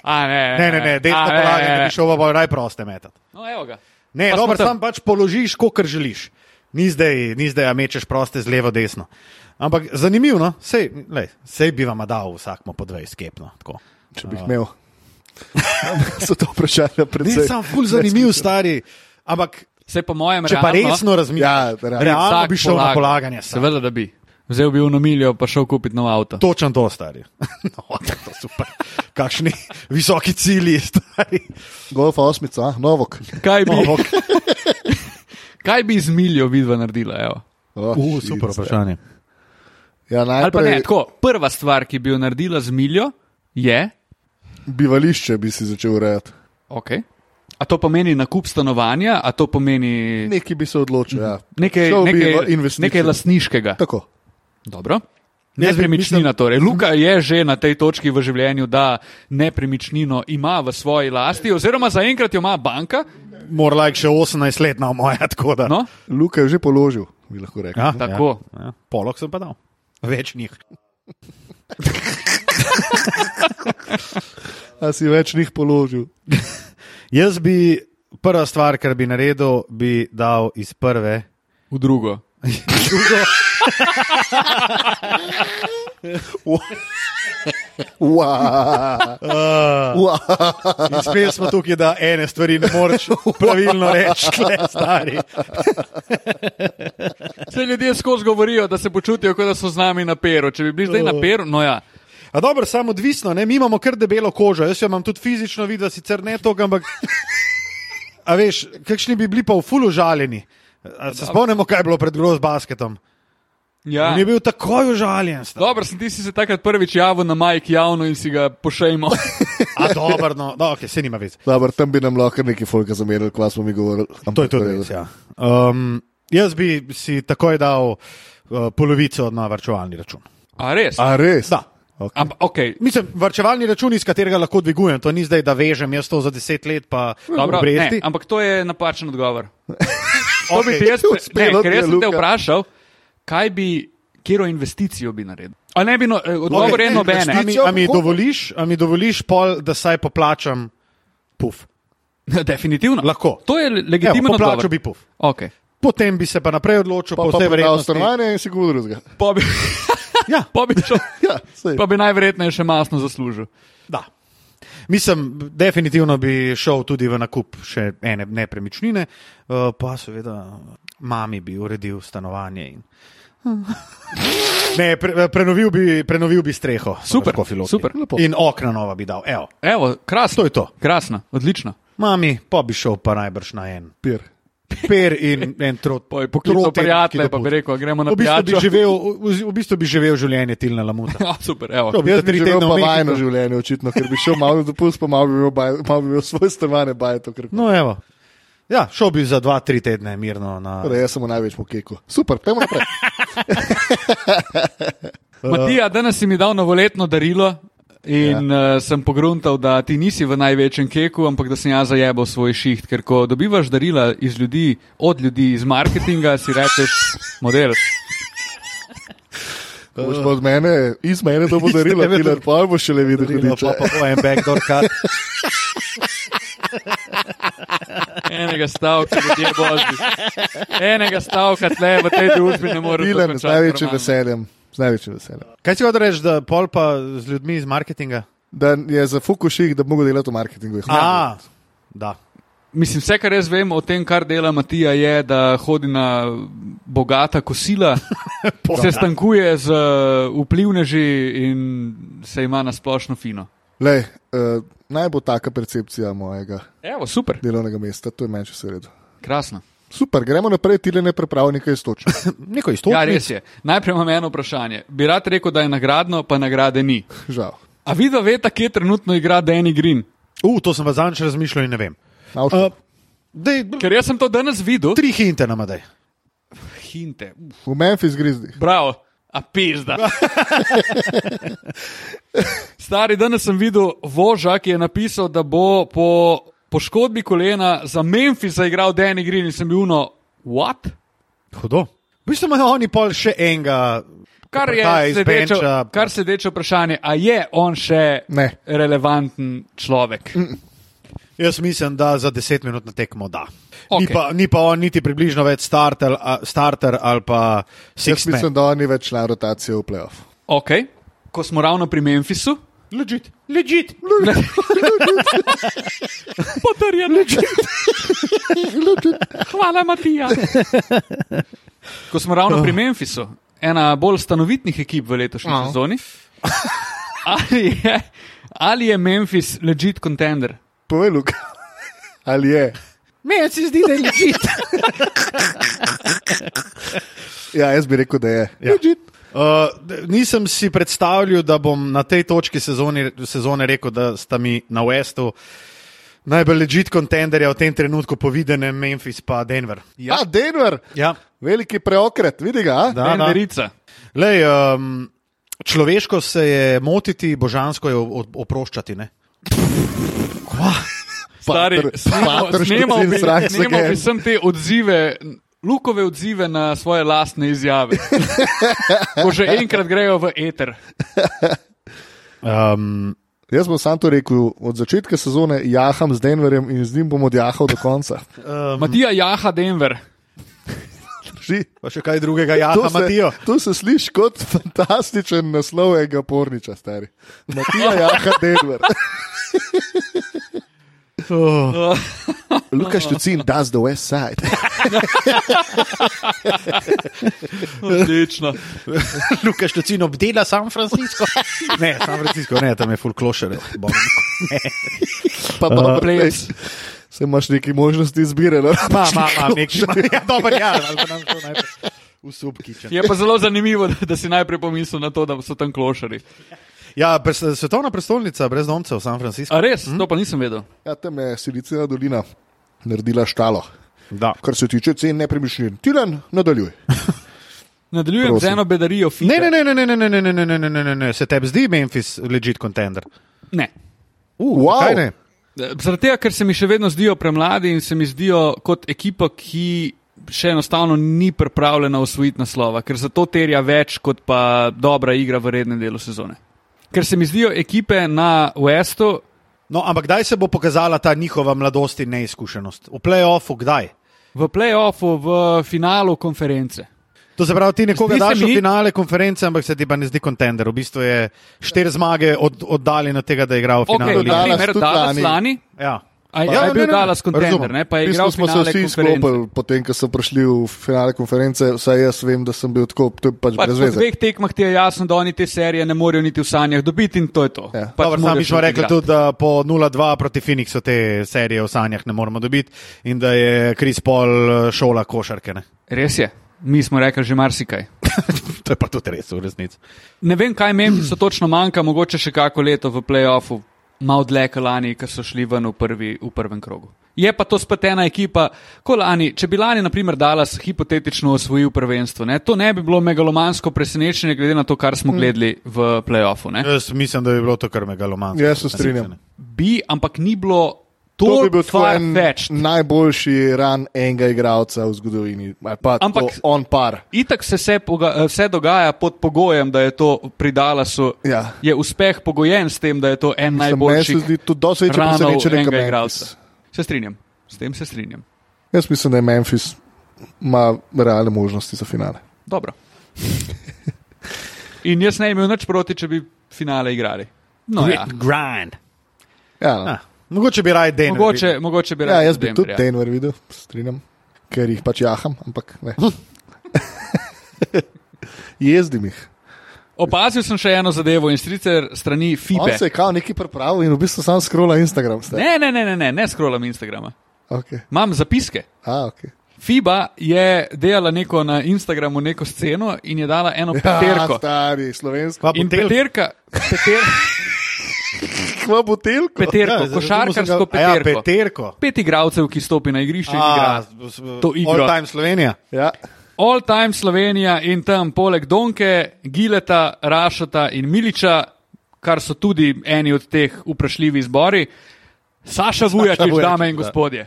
A, ne, Ne, ne, ne, desno A, polaganje bi šel pa bolj raj proste metati. No, evo ga. Ne, pa Pa smo dobro, tam. sam pač položiš, kot želiš. Ni zdaj, ni zdaj, a mečeš proste z levo, desno. Ampak zanimivo, no? sej, lej, sej bi vam dal vsakmo po no, 20 skepno. Če bi jih imel. So to vprašanja Ne, predvsem. sem ful zanimiv, stari. Ampak Se po mojem Če pa no, realno- resno Ja, razmišljaš, realno. realno vsak bi šel na polaganje. sam. Seveda, da bi. Vzel bi eno miljo, pa šel kupiti nov avto. Točen to, stari. No, to super. Kakšni visoki cilji, stari. Golf osmica, a? novok. Kaj bi, No, kaj bi z miljo vidva naredila? Evo? Oh, uh, shit, super vprašanje. Ja, Ali pa ne, Torej- najprej tako, prva stvar, ki bi jo naredila z miljo, je. bivališče bi si začel urejati. Okay. A to pomeni nakup stanovanja, a to pomeni Nekaj bi se odločil. Ja. nekaj, Šel bi v nekaj, investicijo. nekaj lastniškega. Tako. Dobro. bi- Nepremičnina torej. Luka je že na tej točki v življenju, da nepremičnino ima v svoji lasti, oziroma zaenkrat jo ima banka. Morala je še 18 let na moja, tako da. No, Luka je že položil, bi lahko rekel. Ja, Tako. Ja, ja. Polog sem pa dal. Več njih. A si več njih položil. Jaz bi prva stvar, kar bi naredil, bi dal iz prve. v drugo. Wow. Uh, in spet smo tukaj, da ene stvari ne moreš pravilno reči, le stari. Vse ljudje skozi govorijo, da se počutijo, kot da so z nami na peru. Če bi bili zdaj na peru, no ja. A dobro, samo odvisno, ne? mi imamo kar debelo kožo, jaz jo imam tudi fizično, vidim, sicer ne to, ampak. A veš, kakšni bi bili pa v fulu žaljeni. A Se spomnimo, kaj je bilo pred groz basketom. ja. On je bil takoj užaljen. stari. Dobro, sem ti si se takrat prvič javil na majk javno in si ga pošejmo. A dobro, no, no okay, se nima veze. Dobar, tam bi nam lahko nekaj folka zamenjali, kva smo mi govorili. To je tudi res. Ja. Um, jaz bi si takoj dal uh, polovico na varčevalni račun. A res? A res? Da. Okay. Ampak, okay. Mislim, varčevalni račun, iz katerega lahko dvigujem, to ni zdaj, da vežem jaz to za deset let, pa Dobro, ne, obresti. ampak to je napačen odgovor. To bi ti Okay. jaz pre- Uspelo ne, ti ker je, jaz sem te Luka. vprašal, kaj bi, katero investicijo bi naredil. A ne bi no, eh, odgovor okay, Okej, je nobene. A mi, a mi dovoliš, a mi dovoliš pol, da saj poplačam puf? Definitivno. Lahko. To je le- legitimen Evo, odgovor. poplačal bi puf. Okay. Potem bi se pa naprej odločil, Pa, po vsej pa prodal verjetnosti. stanovanje in si kaj drugega. Pa bi, Ja. pa, bi šel, Ja, saj. pa bi najverjetneje še masno zaslužil. Da. Mislim, definitivno bi šel tudi v nakup še ene nepremičnine, eh, pa seveda mami bi uredil stanovanje. In... Ne, pre, eh, prenovil, bi, prenovil bi streho, Super, tako filozofsko. super. Lepo. In okna nova bi dal. Evo. Evo, krasno. To je to. Krasno, odlično. Mami, pa bi šel pa najbrž na en Pir. per in en trot. Pa je poklical trotenski prijatelje, pa bi dopust. rekel, gremo na V bistvu, bi pijačo. živel, v, v bistvu bi živel življenje Tilna Lamuta. Ja, super, evo. To bi Jaz za bi tri živel tedne pa v Mehiku. vajno življenje, očitno, ker bi šel malo na dopust, pa malo bi imel, baj, malo bi imel svoje stanovanje, bajto. Ker... No. No, evo. Ja, šel bi za dva, tri tedne mirno na Torej, jaz sem v največjem keku. Super, pojmo naprej. eh, Matija, danes si mi dal novoletno darilo in ja. uh, sem pogruntal, da ti nisi v največjem keku, ampak da sem jaz zajebal svoj šiht, ker ko dobivaš darila iz ljudi, od ljudi iz marketinga, si rečeš model. Ko Boš pa od mene, iz mene to bo Iz darilo, tebe to- Pilar, pa boš šele videl, eh. Dilo, hudiča. pa pa bo en backdoor cut. Enega stavka ljudje božji. Enega stavka tle v tej družbi ne moreš. Pilar, z največjim veseljem. Z največjim veseljem. Kaj si hotel reči, da pol pa z ljudmi iz marketinga? Da je za fukuših, da bi mogel delati v marketingu. Jih ne A, da. Mislim, vse, kar jaz vem o tem, kar dela Matija, je, da hodi na bogata kosila, se stankuje z eh, vplivneži in se ima na splošno fino. Lej, uh, naj bo taka percepcija mojega Evo, super, delovnega mesta, to je meni še vse redo. krasno. Super, gremo naprej, ti le ne pripravi nekaj istočno. Neko Ja, izstopanje. res je. Najprej imam eno vprašanje. Bi rad rekel, da je nagradno, pa nagrade ni. Žal. A vidva veta, kje trenutno igra Danny Green? U, to sem vas zanj razmišljal in ne vem. Naučno. Uh, dej, Ker jaz sem to danes videl. tri hinte nam daj. Hinte. Uf, V Memphis grizdih. bravo, a pizda. Stari, danes sem videl Voža, ki je napisal, da bo po poškodbi kolena za Memphis zaigral Danny Green in sem bil no, what? Hudo. V bistvu imajo oni pol še enega. Kar Kaj je iz sledeče, benča. kar sledeče vprašanje, a je on še Ne. relevanten človek? Jaz mislim, da za deset minut na tekmo da. Ni, Okej. pa, ni pa on niti približno več starter, a, starter ali pa Jaz six man. mislim, da on ni več član rotacije v playoff. Okay. Ko smo ravno pri Memphisu, Ležite, ležite, Potrjen leč. Hvala, Matija. Ko smo ravno pri Memphisu, ena bolj stanovitnih ekip v letošnji No. no. sezoni, ali je, ali je Memphis legit contender? Povej, Luka. Ali je? meni se zdi, da je ležite. Ja, jaz bi rekel, da je. Ja. Uh, d- nisem si predstavljal, da bom na tej točki sezoni, sezone rekel, da sta mi na Westu najbolj ležit kontenderja v tem trenutku, poviden Memphis pa Denver. Ja, ja Denver, Ja. veliki preokret, vidi ga. a? Da, da. Venderica. Lej, um, človeško se je motiti, božansko je o- o- oproščati. Ne? Stari, Patr- snemal- Patr snemal bi- 14 strah se Snemal ga. bi sem te odzive. Lukove odzive na svoje lastne izjave. Ko že enkrat grejo v eter. Um, Jaz bom sam to rekel, od začetka sezone jaham z Denverjem in z njim bom odjahal do konca. um, Matija Jaha Denver. Drži. pa še kaj drugega, ja, To Matijo. se, to se sliši kot fantastičen naslov enega porniča, stari. Matija Jaha Denver. Oh. Luka Štucin, does the west side. Odlično. Lukaš Lucin obdela San Francisco. ne, San Francisco, ne, tam je full klošer. Bom. Pa pa prej. Plebs. Se imaš neki možnosti izbire. No? Ma, ma, ma, nek že ima. Ja, dober, ja, ali pa nam šel najprej v subkičen. Je pa zelo zanimivo, da, da si najprej pomislil na to, da so tam klošari. Ja, pres, svetovna prestolnica brezdomcev, San Francisco. A res, Mhm. to pa nisem vedel. Ja, tam je Silicijska dolina naredila štalo. Da. Kar se tiče cen nepremičnin, Tilan, nadaljuj. Nadaljujem Prosim. z eno bedarijo Fika. Ne, ne, ne, ne, ne, ne, ne, ne, ne, ne, ne, ne, ne, ne, se tebi zdi Memphis legit contender. ne. Uh, Wow. kaj ne? Eh, Zaradi tega, ker se mi še vedno zdijo premladi in se mi zdijo kot ekipa, ki še enostavno ni pripravljena osvojiti naslova, ker za to terja več kot pa dobra igra v rednem delu sezone. Ker se mi zdijo ekipe na Westu, No, ampak kdaj se bo pokazala ta njihova mladost in neizkušenost? V playoffu, kdaj? v playoffu, v finalu konference. To se pravi, ti nekoga Zdi se daš v mi- finale konference, ampak se ti pa ne zdi kontender. V bistvu je štiri zmage od, oddaljen od tega, da je igral v Okay, finalu. Dallas lige. dodala- primer, tudi Dallas lani. lani, Ja. a, Ja, ja, a je ne, bil ne, Dallas kontender, razumem. ne, pa V je bistvu igral smo se finale vsi konference. izklopili, potem ko so prišli v finale konference, vsaj jaz vem, da sem bil tako, to je pač Pač brez po veze. dveh tekmah ti je jasno, da oni te serije ne morejo niti v sanjah dobiti in to je to. Ja. Pač Dobar, moraš sami smo odigrati. rekli tudi, da po 0-2 proti Phoenixu te serije v sanjah ne moremo dobiti in da je Kris Paul eh, šola košarke. Ne? Res je, mi smo rekli že marsikaj. to je pa tudi res, v resnici. Ne vem, kaj meni so točno manjka, mogoče še kako leto v playoffu, malo dlje kot lani, ki so šli ven v, prvi, v prvem krogu. Je pa to spet ena ekipa, kot lani. Če bi lani, na primer, Dallas hipotetično osvojil prvenstvo, ne? to ne bi bilo megalomansko presenečenje, glede na to, kar Mm. smo gledali v playoffu. Ne? Jaz mislim, da bi bilo to kar megalomansko. Jaz se strinjam. Bi, ampak ni bilo To to, bi bil tako kar en več. najboljši ran enega igralca v zgodovini. ali Pa Ampak Ampak- on par. Itak se vse, poga, vse dogaja pod pogojem, da je to pri Dallasu. Ja. Je uspeh pogojen s tem, da je to en Meni najboljši. se zdi to dosti večje presenečenje, kot Memphis. Se strinjam, s tem se strinjam. Jaz mislim, da je Memphis ima realne možnosti za finale. Dobro. In jaz ne bi imel nič proti, če bi finale igrali. No, ja. Grind. Ja, no. Ah, mogoče bi raje Denver. mogoče, mogoče bi ja, rad jaz bi Denver, tudi ja. Denver videl, strinjam, ker jih pač jaham, ampak ne. Jezdim jih. Opazil sem še eno zadevo in sicer strani On FIBE. se je kao nekaj pripravil in v bistvu sam skrola Instagram. Ne? Ne, ne, ne, ne, ne, ne scrollam Instagrama. Okay. Imam zapiske. A, okay. FIBA je delala neko na Instagramu, neko sceno in je dala eno Ja, peterko. stari, slovensko. Pa In Botelko. peterka, peter, Kva butelko? Ja, peterko, zdaj razumel košarkarsko sem ga- A peterko. Ja, peterko. Pet igralcev, ki stopi na igrišče in A, igra. s- s- To igro. All time Slovenija. Ja. All time Slovenija in tam poleg Donke, Gileta, Rašata in Miliča, kar so tudi eni od teh vprašljivih izbori, Saša Vujačič, Vujačič, dame in da. gospodje.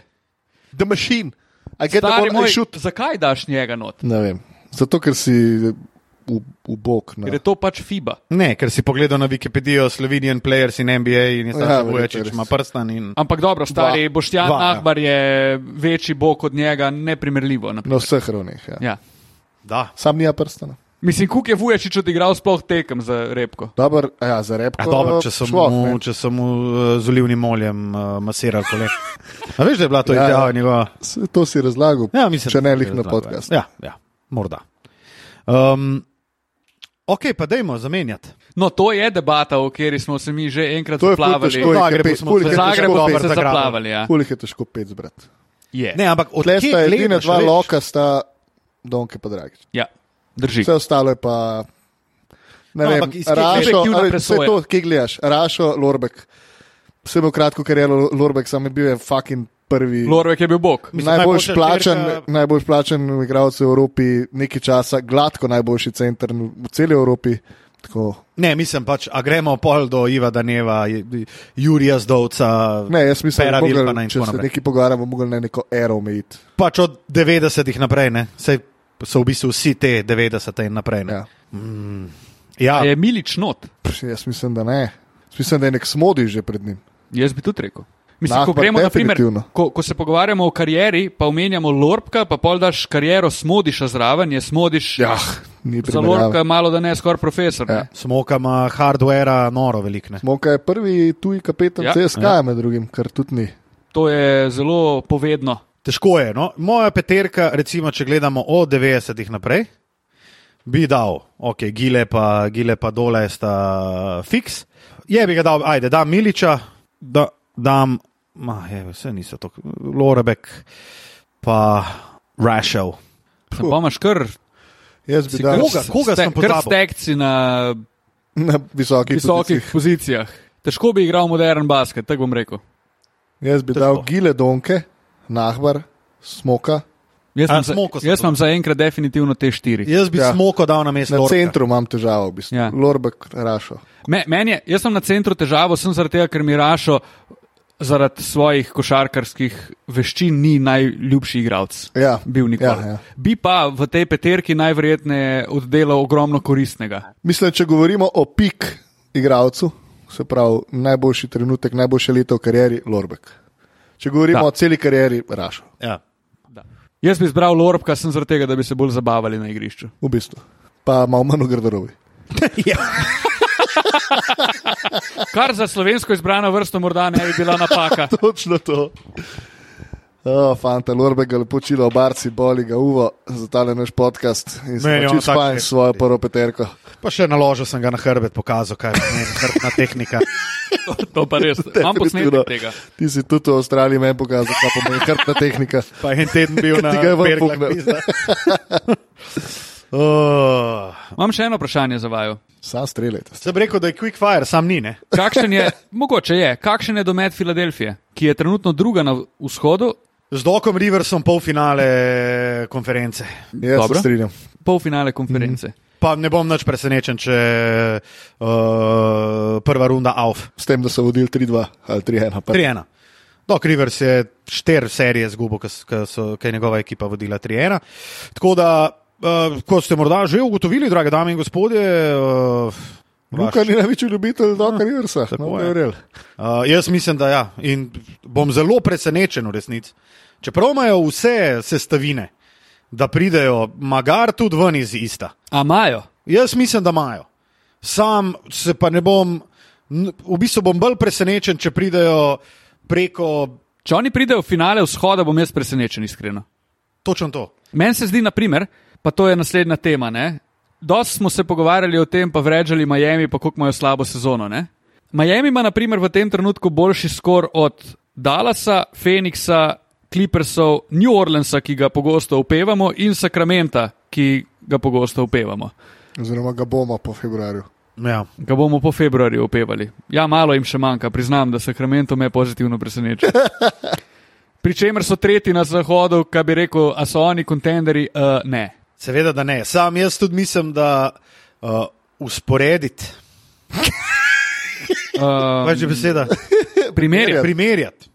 The machine. I get Stari the ball, moj, I shoot. zakaj daš njega not? Ne vem. Zato, ker si v, v bok. Ker je to pač FIBA. Ne, ker si pogledal na Wikipedijo Slovenian players in NBA in je Ja, sam verjetno Vujačič res. ima prstan in Ampak dobro, stari Dva. Boštjan Dva, ja. Ahbar je No. večji bog od njega, neprimerljivo. na primer. Na vseh ravneh. Ja. Ja. da. Sam nija prstana. Mislim, kuk je Vujačič odigral sploh tekem za repko. Dobar, ja, za repko. Ja, dobro, če sem šlo, mu, ne. če sem mu eh, z olivnim oljem uh, masiral kolega. A veš, da je bila to Ja, ja. izjava njegova? S- To si razlagal, Ja, mislim, če da ne je lih na razlagal, podkastu. Ja, ja, morda. Um, ok, pa dajmo zamenjati. No, to je debata, v kateri smo se mi že enkrat To je ful zaplavali. težko, V je Zagrebu kar pet- smo ful je se- kar Zagreb Zagrebu težko Dobro, smo pet se zagrabili. zaplavali. Ja. Kulik je težko pet zbrati. Je. Ne, ampak od Tle kje sta edina gledaš, dva a veš? loka, sta Donke pa Dragič. Ja, drži. Vse ostalo je pa. Ne No, vem, ampak iz kje Rašo, perspektivna a veš, vse presoja? to, ki gledaš, Rašo, Lorbek. Vse imel kratko kariero Lorbek, sam je bil je fucking prvi. Lorvek je bil bog. Mislim, Najboljš najboljša plačan, številka- najboljš plačan igralec v Evropi, nekaj časa, gladko najboljši center v celi Evropi. Tako. Ne, mislim pač, a gremo pol do Iva Daneva, J- J- Jurija Zdovca. Ne, jaz mislim, da Pera bi Vilfana mogli, in če tako se naprej. nekaj pogovarjamo, mogli na neko ero omejiti. Pač od 90-ih naprej, ne. Sej so v bistvu vsi te 90-te in naprej. Ne? Ja. Ja, A ja Je milič not. Pš, Jaz mislim, da ne. Jaz mislim, da je nek smodi že pred njim. Jaz bi tudi rekel. Mislim, ko, Lahko, gremo, na primer, definitivno. ko, ko se pogovarjamo o karieri, pa omenjamo Lorbka, pa pol daš kariero Smodiša zraven, je Smodiš. Ja, ni za Lorbka primerjava. je malo da ne skoraj profesor. Ja. Ja. smokama, hardwarea, noro velikne. Moka je prvi tuji kapetan Ja. ja. CSK, ja. med drugim, kar tudi ni. To je zelo povedno. Težko je. No? Moja peterka, recimo, če gledamo od 90-ih naprej, bi dal, ok, gile pa, gile pa dole sta fiks. Je bi ga dal, ajde, da Miliča, da dam, ma, je, vse niso to, Lorebek, pa Rašel. Tako. Pa imaš kar, Jaz bi si dal kar, Koga? Koga sem ste- kar pozabil? stekci na na visokih visokih visokih. pozicijah. Težko bi igral modern basket, tako bom rekel. Jaz bi Težko. dal Gile Donke, Nahbar, Smoka. Jaz A, imam za- Smoko sem jaz imam za enkrat definitivno te štiri. Jaz bi ja. Ja. smoko dal na mesto. Na Lorca. centru imam težavo, v bistvu. Ja. Ja. Lorbek, Rašo. Me, meni je, jaz sem na centru težavo, sem zaradi tega, ker mi Rašo zaradi svojih košarkarskih veščin ni najljubši igralec. Ja. Bil nikoli. Ja, ja. Bi pa v tej peterki najverjetneje oddelal ogromno koristnega. Mislim, če govorimo o pik igravcu, se pravi najboljši trenutek, najboljše leto v karieri, Lorbek. Če govorimo Da. da. o celi karieri, Rašo. Ja. Jaz bi izbral Lorbka, sem zaradi tega, da bi se bolj zabavali na igrišču. V bistvu. Pa malo manj v garderobi. Ja. Kar za slovensko izbrano vrsto morda ne bi bila napaka. Točno to. Oh, fanta, Lorbek ga lepo čilo, barci, boli ga uvo za tale naš podcast Meni in je se on naučil tak spanj lep. svojo prvo peterko. Pa še naložil sem ga na hrbet, pokazal, kaj je hrbtna tehnika. To, to pa res. Imam Definitivno. posnetek tega. Ti si tudi v Avstraliji meni pokazal, kaj pomeni krtna tehnika. Pa en teden bil na Ti ga je ven Berglah, pugnil. pizda. Oh, Imam še eno vprašanje za vaju. Sam streljajte. Sem rekel, da je quick fire, sam ni. Ne? Kakšen je, mogoče je, kakšen je domet Filadelfije, ki je trenutno druga na vzhodu, Z Dokom Riversom polfinale konference. Jaz Dobro. se strinjam. polfinale konference. Mm. Pa ne bom nič presenečen, če uh, prva runda AUF. S tem, da so vodili 3-2 ali 3-1. pa- 3-1. Dok Rivers je štiri serije zgubo, ki je njegova ekipa vodila 3-1. Tako da, uh, kot ste morda že ugotovili, drage dame in gospodje, uh, Luka ni največji ljubitelj Doka Riversa. Tako No, je. ne verjel. Uh, jaz mislim, da ja. In bom zelo presenečen v resnici. Čeprav imajo vse sestavine, da pridejo, magar tudi ven iz ista. A imajo? Jaz mislim, da imajo. Sam se pa ne bom, n- v bistvu bom bolj presenečen, če pridejo preko Če oni pridejo v finale vzhoda, bom jaz presenečen, iskreno. točno to. Meni se zdi, na primer, pa to je naslednja tema. Ne? Dost smo se pogovarjali o tem, pa vrečali Miami, pa kako imajo slabo sezono. Ne? Miami ima, na primer, v tem trenutku boljši skor od Dallasa, Phoenixa, Clippersov, New Orleansa, ki ga pogosto upevamo, in Sacramenta, ki ga pogosto upevamo. Oziroma ga bomo po februarju. Ja. Ga bomo po februarju upevali. Ja, malo jim še manjka, priznam, da Sacramento me pozitivno preseneča. Pričemer so tretji na zahodu, kaj bi rekel, a so oni kontenderi? Uh, ne. Seveda, da ne. Sam jaz tudi mislim, da uh, usporediti, Uh, več beseda, primerjaj. primerjati.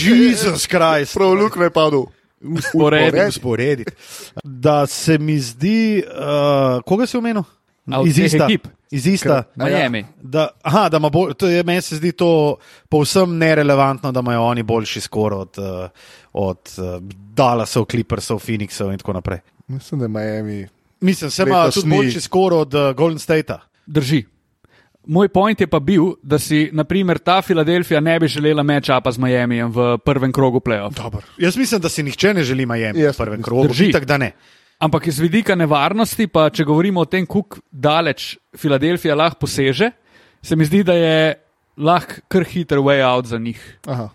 Jezus Krist. Prav Luka je padel. Usporediti. usporediti. Da se mi zdi, uh, koga si omenil? A od Iz teh ista. ekip? Iz ista. Ker- Aja. Miami. Da, aha, da ima bolj, to je, meni se zdi to povsem nerelevantno, da imajo oni boljši skor od, eh, od Dalasov, Clippersov, Phoenixov in tako naprej. Mislim, da je Miami Mislim, se ima Letos tudi ni. boljši skoro od eh, Golden State. Drži. Moj point je pa bil, da si, na primer, ta Filadelfija ne bi želela mečapa z Miamijem v prvem krogu playoff. Jaz mislim, da si nihče ne želi Miami yes, Jaz v prvem krogu. Drži. Žitak, da ne. Ampak iz vidika nevarnosti, pa če govorimo o tem, kako daleč Filadelfija lahko poseže, se mi zdi, da je lahko kar hiter way out za njih. Aha.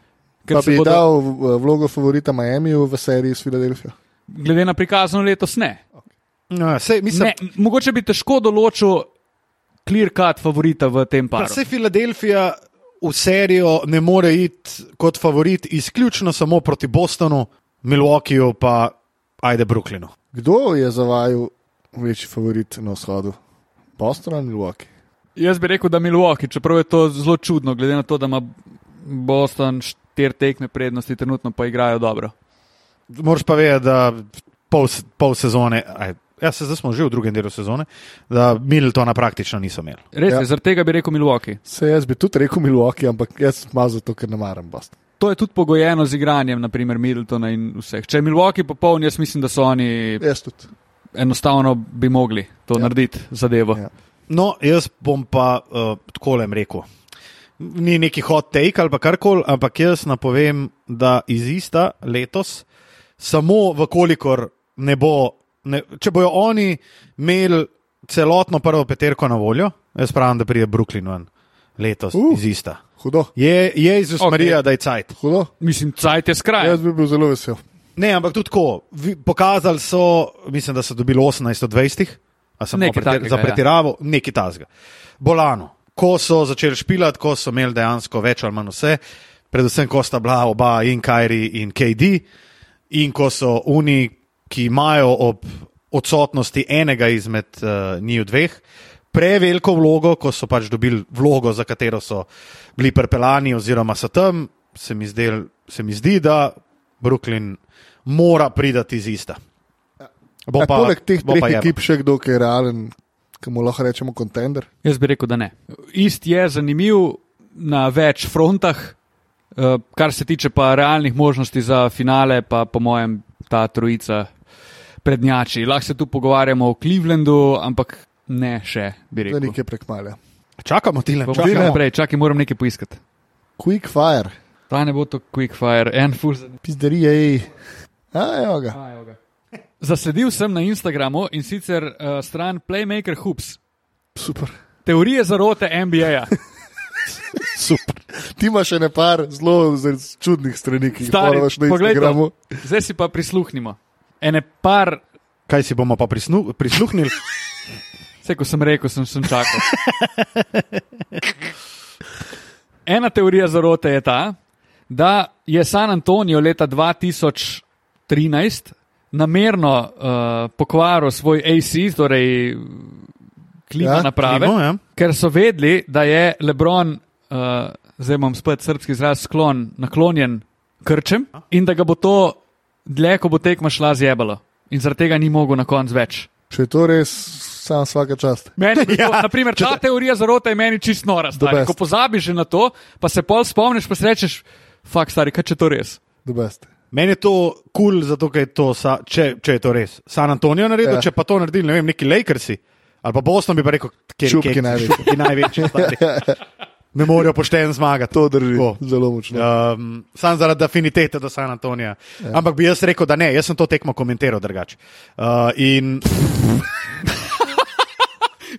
Ker Pa se bi bodo- bodo... dal v- vlogo favorita Miamiju v seriji s Filadelfijo. Glede na prikazano letos, ne. No, sej, mislim, ne mogoče bi težko določil clear cut favorita v tem Pa paru. se Filadelfija v serijo ne more iti kot favorit, izključno samo proti Bostonu, Milwaukeeju, pa ajde Brooklynu. Kdo je za vaju večji favorit na vzhodu? Boston ali Milwaukee? Jaz bi rekel, da Milwaukee, čeprav je to zelo čudno, glede na to, da ima Boston štiri tekme prednosti, trenutno pa igrajo dobro. Moraš pa vedeti, da pol, s- pol sezone, aj, ja, se zdaj smo že v drugem delu sezone, da Miltona praktično niso imeli. Res je, Ja. ja. zaradi tega bi rekel Milwaukee. Se jaz bi tudi rekel Milwaukee, ampak jaz malo zato, ker ne maram Boston. To je tudi pogojeno z igranjem, naprimer Middletona in vseh. Če je Milwaukee popoln, jaz mislim, da so oni Jaz tudi. enostavno bi mogli to ja. narediti zadevo. Ja. Ja. No, jaz bom pa uh, tako jim rekel. Ni neki hot take ali pa karkoli, ampak jaz napovem, da iz ista letos, samo vkolikor ne bo, ne, če bojo oni imeli celotno prvo peterko na voljo, jaz pravim, da pride Brooklyn ven letos uh. Uh. iz ista. Hudo, Je, je iz Usmerija, okay. Okej. da je cajt. hudo. Mislim, cajt je Ja. skraj. Jaz bi bil zelo vesel. Ne, ampak tudi tako. vi- Pokazali so, mislim, da so dobili 18 od 20, a sem Nekaj malo pretir- takega, za ja. pretiravo, ja. nekaj tasga. Bolano, ko so začeli špilati, ko so imeli dejansko več ali manj vse, predvsem ko sta bila oba in Kajri in KD, in ko so oni, ki imajo ob odsotnosti enega izmed uh, njiju dveh. Preveliko vlogo, ko so pač dobili vlogo, za katero so bili prepeljani, oziroma so tam, se mi, zdel, se mi zdi, da Brooklyn mora pridati iz ista. Bo Ja, pa- poleg teh bo pa treh jeba. ekip še kdo, ki je realen, ki mu lahko rečemo kontender. Jaz bi rekel, da ne. Ist je zanimiv na več frontah, eh, kar se tiče pa realnih možnosti za finale, pa po mojem ta trojica prednjači. Lahko se tu pogovarjamo o Clevelandu, ampak ne še, bi Za rekel. nekaj prekmale. Čakamo ti le, Bomo šli čakamo. naprej, čakaj, moram nekaj poiskati. Quick fire, Ta ne bo to quick fire, en full za pizderije, ej. A, evo ga. Zasledil sem na Instagramu in sicer uh, stran Playmaker Hoops. Super. Teorije zarote NBA-ja. Super. Ti imaš še nepar zelo z- čudnih strani, ki jih Stari, moraš na poglej to. Instagramu. Zdaj si pa prisluhnimo. Ene par, Kaj si bomo pa prisnu, prisluhnili? vse ko sem rekel, sem, sem čakal. Ena teorija zarote je ta, da je San Antonijo leta 2013 namerno uh, pokvaril svoj AC, torej klima Ja, ja, naprave. Klimo, ja. Ker so vedeli, da je Lebron, uh, zdaj imam spet srpski izraz, sklon, naklonjen krčem in da ga bo to dlje, ko bo tekma šla zjebalo. In zaradi tega ni mogel na koncu več. Če je to res, sam vsaka čast. Meni, Ja, ja, to, naprimer, ta teorija zarote je meni čist nora. Stari. best. Ko pozabiš že na to, pa se pol spomniš, pa si rečeš, fakt stari, kaj če to res. The best. Meni je to kul, cool, zato ker je to, sa, če, če je to res. San Antonijo naredil, Ja. ja. če pa to naredili, ne vem, neki Lakersi. Ali pa Boston bi pa rekel, kje Šupki največji. Ki največji. stari. Ne morejo pošteno zmagati. To drži. Tako. Tako. Zelo močno. Ja. Um, sam zaradi afinitete do San Antonija. Ja. Ampak bi jaz rekel, da ne, jaz sem to tekmo komentiral drugače. Uh, in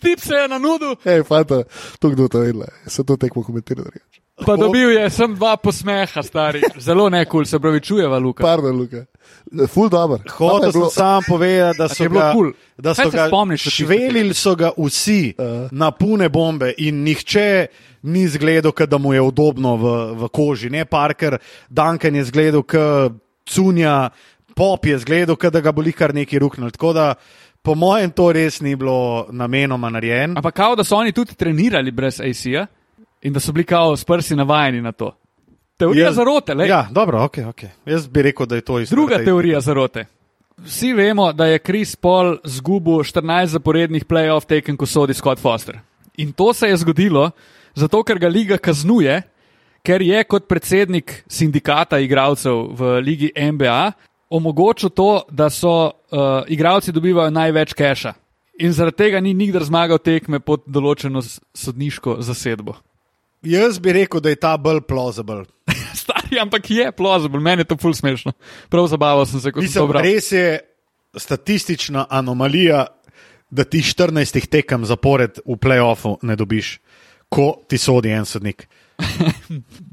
Tip se je na nudu, Ej, fanta, to kdo to vedela, se to tekmo komentira. drugače. pa dobil je sem dva posmeha, stari. Zelo nekul, se pravi, čujeva, Luka. Pardon, Luka. Ful dober. Fanta je Ja. hotel sem bilo- sam povedati, da so je bilo ga, kul? da Kaj so se ga spomniš od tiste švelili so ga vsi uh. na pune bombe in nihče ni izgledal, kot da mu je udobno v, v koži. Ne Parker, Duncan je izgledal, kot cunja, pop je izgledal, kot da ga boli kar neki ruknil. Tako da, po mojem, to res ni bilo namenoma narejeno. Ampak kao, da so oni tudi trenirali brez AC-ja in da so bili kao s prsi navajeni na to. Teorija Jaz- zarote, le. Ja, Ja, dobro, ok, ok. Jaz bi rekel, da je to isto. Druga teorija zarote. Vsi vemo, da je Chris Paul zgubil 14 zaporednih playoff tekem, ko sodi Scott Foster. In to se je zgodilo, zato ker ga liga kaznuje, ker je kot predsednik sindikata igralcev v ligi NBA omogočil to, da so uh, igravci dobivajo največ keša. In zaradi tega ni nikdar zmagal tekme pod določeno s- sodniško zasedbo. Jaz bi rekel, da je ta bolj plausible. Stari, ampak je plausible, meni je to ful smešno. Prav zabaval sem se, ko sem to Mislim, bral. res je statistična anomalija, da ti 14 tekem zapored v playoffu ne dobiš, ko ti sodi en sodnik.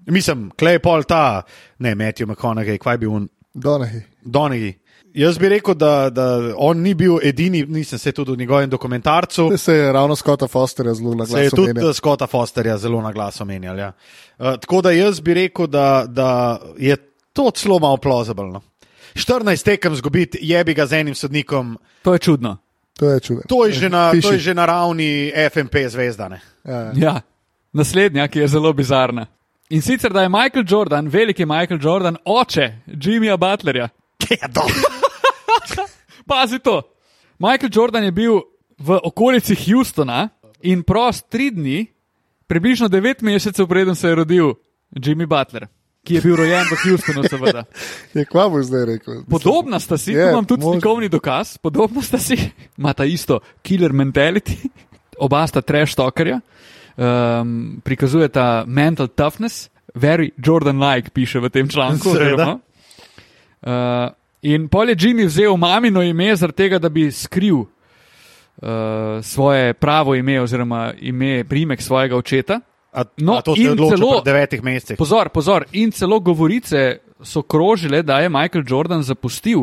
Mislim, klej pol ta, ne Matthew McConaughey, kaj bi on, Donahi. Donegi. Jaz bi rekel, da, da on ni bil edini, nisem se tudi v njegovem dokumentarcu. Se je ravno Scotta Fosterja zelo na Se je glas tudi omenil. Skota Fosterja zelo na glas omenjal. Ja. Uh, tako da jaz bi rekel, da, da je to celo malo plausibilno. 14 tekem zgubiti, jebi ga z enim sodnikom, To je čudno. To je čudno. to je že na, to je Piši. že na ravni FMP zvezdane. Ja. Ja, naslednja, ki je zelo bizarna. In sicer, da je Michael Jordan, veliki Michael Jordan, oče Jimmyja Butlerja. Pazi to. Michael Jordan je bil v okolici Houstona in prost tri dni, približno devet mesecev, preden se je rodil Jimmy Butler, ki je bil rojen v Houstonu, seveda. Je kva bo zdaj rekel? Podobna sta si, Je, yeah, imam tudi možno. slikovni dokaz, podobna sta si, imata isto killer mentality, oba sta trash talkerja, um, prikazujeta mental toughness, very Jordan-like piše v tem članku. Seveda. oziroma. Uh, in pol je Jimmy vzel mamino ime, zaradi tega, da bi skril uh, svoje pravo ime oziroma ime, primek svojega očeta. A, No, a to se je in odločilo celo- po devetih mesecih. Pozor, pozor, in celo govorice so krožile, da je Michael Jordan zapustil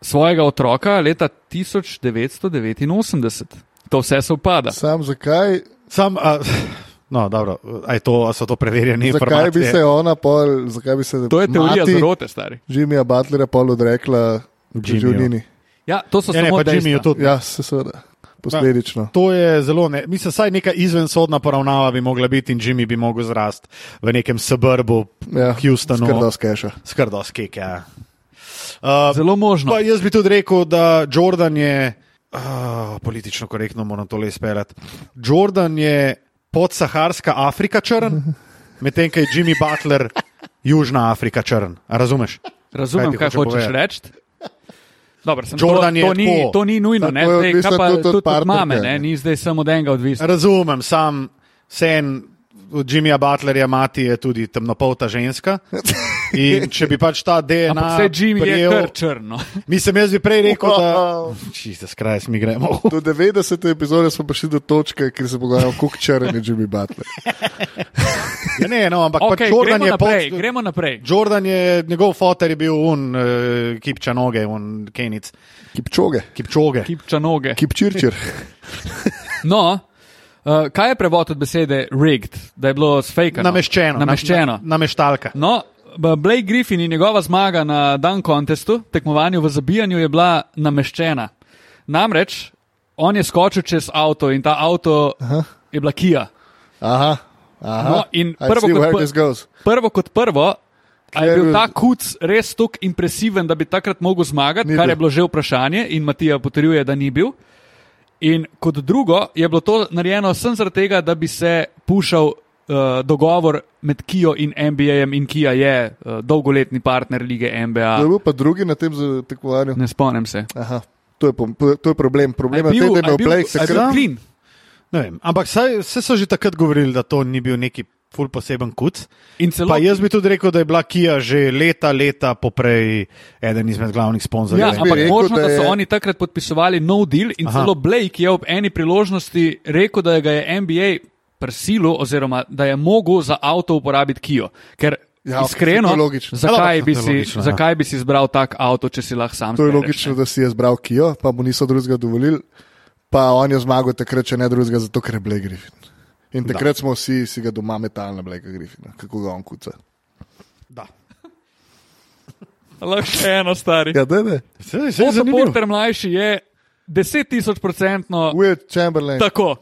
svojega otroka leta 1989. To vse se upada. Sam zakaj, Sam, a, no, dobro, a, je to, a so to preverjeni zakaj bi informacije? se ona pol, zakaj bi se To je teorija mati zarote, stari. Jimmyja Butlera pol odrekla Jimmyju. Džunini. Ja, to so Ja, ne, samo pa Jimmyju dejstva. tudi. Ja, se seveda, posledično. To je zelo, ne, mislim, saj neka izvensodna poravnava bi mogla biti in Jimmy bi mogel zrasti v nekem suburbu, Ja, Houstonu. Skrdo skeša. skrdo skeke. Ja. Uh, Zelo možno. Pa jaz bi tudi rekel, da Jordan je, uh, politično korektno moram to le izpeljati. Jordan je podsaharska Afrika črn, medtem ko je Jimmy Butler južna Afrika črn. A Razumeš? Razumem, ti kaj, hoče kaj hočeš povedati? reči. Dobro, sem, to, Jordan je to, ni, tako. to ni nujno, ne, Tako je zdaj, odvisno kaj pa tudi od tudi od partnerke, mame, ne, ne. ni zdaj samo od enega odvisno. Razumem, sam sen. Od Jimmyja Butlerja mati je tudi temnopolta ženska. In če bi pač ta Ampak DNA. vse Jimmy je prijel- kar črno. Mislim, jaz bi prej rekel, da. Wow. Čisto skraj, mi gremo. Do 90. epizode smo prišli do točke, kjer se pogovarjamo, kako črn je Jimmy Butler. Ja, ne, no, ampak Okay, okay, Jordan gremo, je naprej, pod- gremo naprej. Jordan je, njegov fotor je bil un, uh, kipča noge, un kenic, Kipčoge, kipčoge. Kip. Kipča noge. kipčirčir. No, uh, kaj je prevod od besede rigged, da je bilo sfejkano? Nameščeno. Nameščeno. Na, na, nameštalka. No, b- Blake Griffin in njegova zmaga na Dan kontestu, tekmovanju v zabijanju, je bila nameščena. Namreč on je skočil čez avto in ta avto Aha. je bila Kija. Aha. Aha. No, in I prvo see kot where pr- this goes. Prvo kot prvo. A je Ker- bil ta kuc res tako impresiven, da bi takrat mogel zmagati, Ni kar bil. je bilo že vprašanje in Matija potrjuje, da ni bil. In kot drugo, je bilo to narejeno sem zaradi tega, da bi se pušal uh, dogovor med Kijo in NBA-jem, in Kija je uh, dolgoletni partner lige NBA. To je bil pa drugi na tem za- tekmovanju. Ne spomnim se. Aha. To je, po- to je problem. Problem A je v je tem, da je a je imel Blake a je bil kar- takrat. clean? Ne vem, Ampak saj, vse so že takrat govorili, da to ni bil neki ful poseben kuc. In celo Pa jaz bi tudi rekel, da je bila Kija že leta, leta poprej eden izmed glavnih Ja, sponzorjev. ampak rekel, možno, da da so je- oni takrat podpisovali no deal in Aha. Aha. celo Blake je ob eni priložnosti rekel, da ga je NBA prisilil, oziroma da je mogel za avto uporabiti Kijo. Ker Ja, ja, ok, iskreno, to je logično. Ja, zakaj, dobro, bi to je si, logično, logično, ja. zakaj bi si izbral tak avto, če si lahko sam? To je izbereš, logično, ne? da si je zbral Kijo, pa mu niso drugega dovolili, pa on je zmagal takrat, če ne drugega, zato ker je Blake Griffin. In takrat smo vsi si ga doma metali na Blake Griffina, kako ga on kuca. Da. Lahko še eno stari. Ja, Ja, da je. Se, se je Bob zanimivo. Porter mlajši je 10 tisoč procentno Will Chamberlain. tako.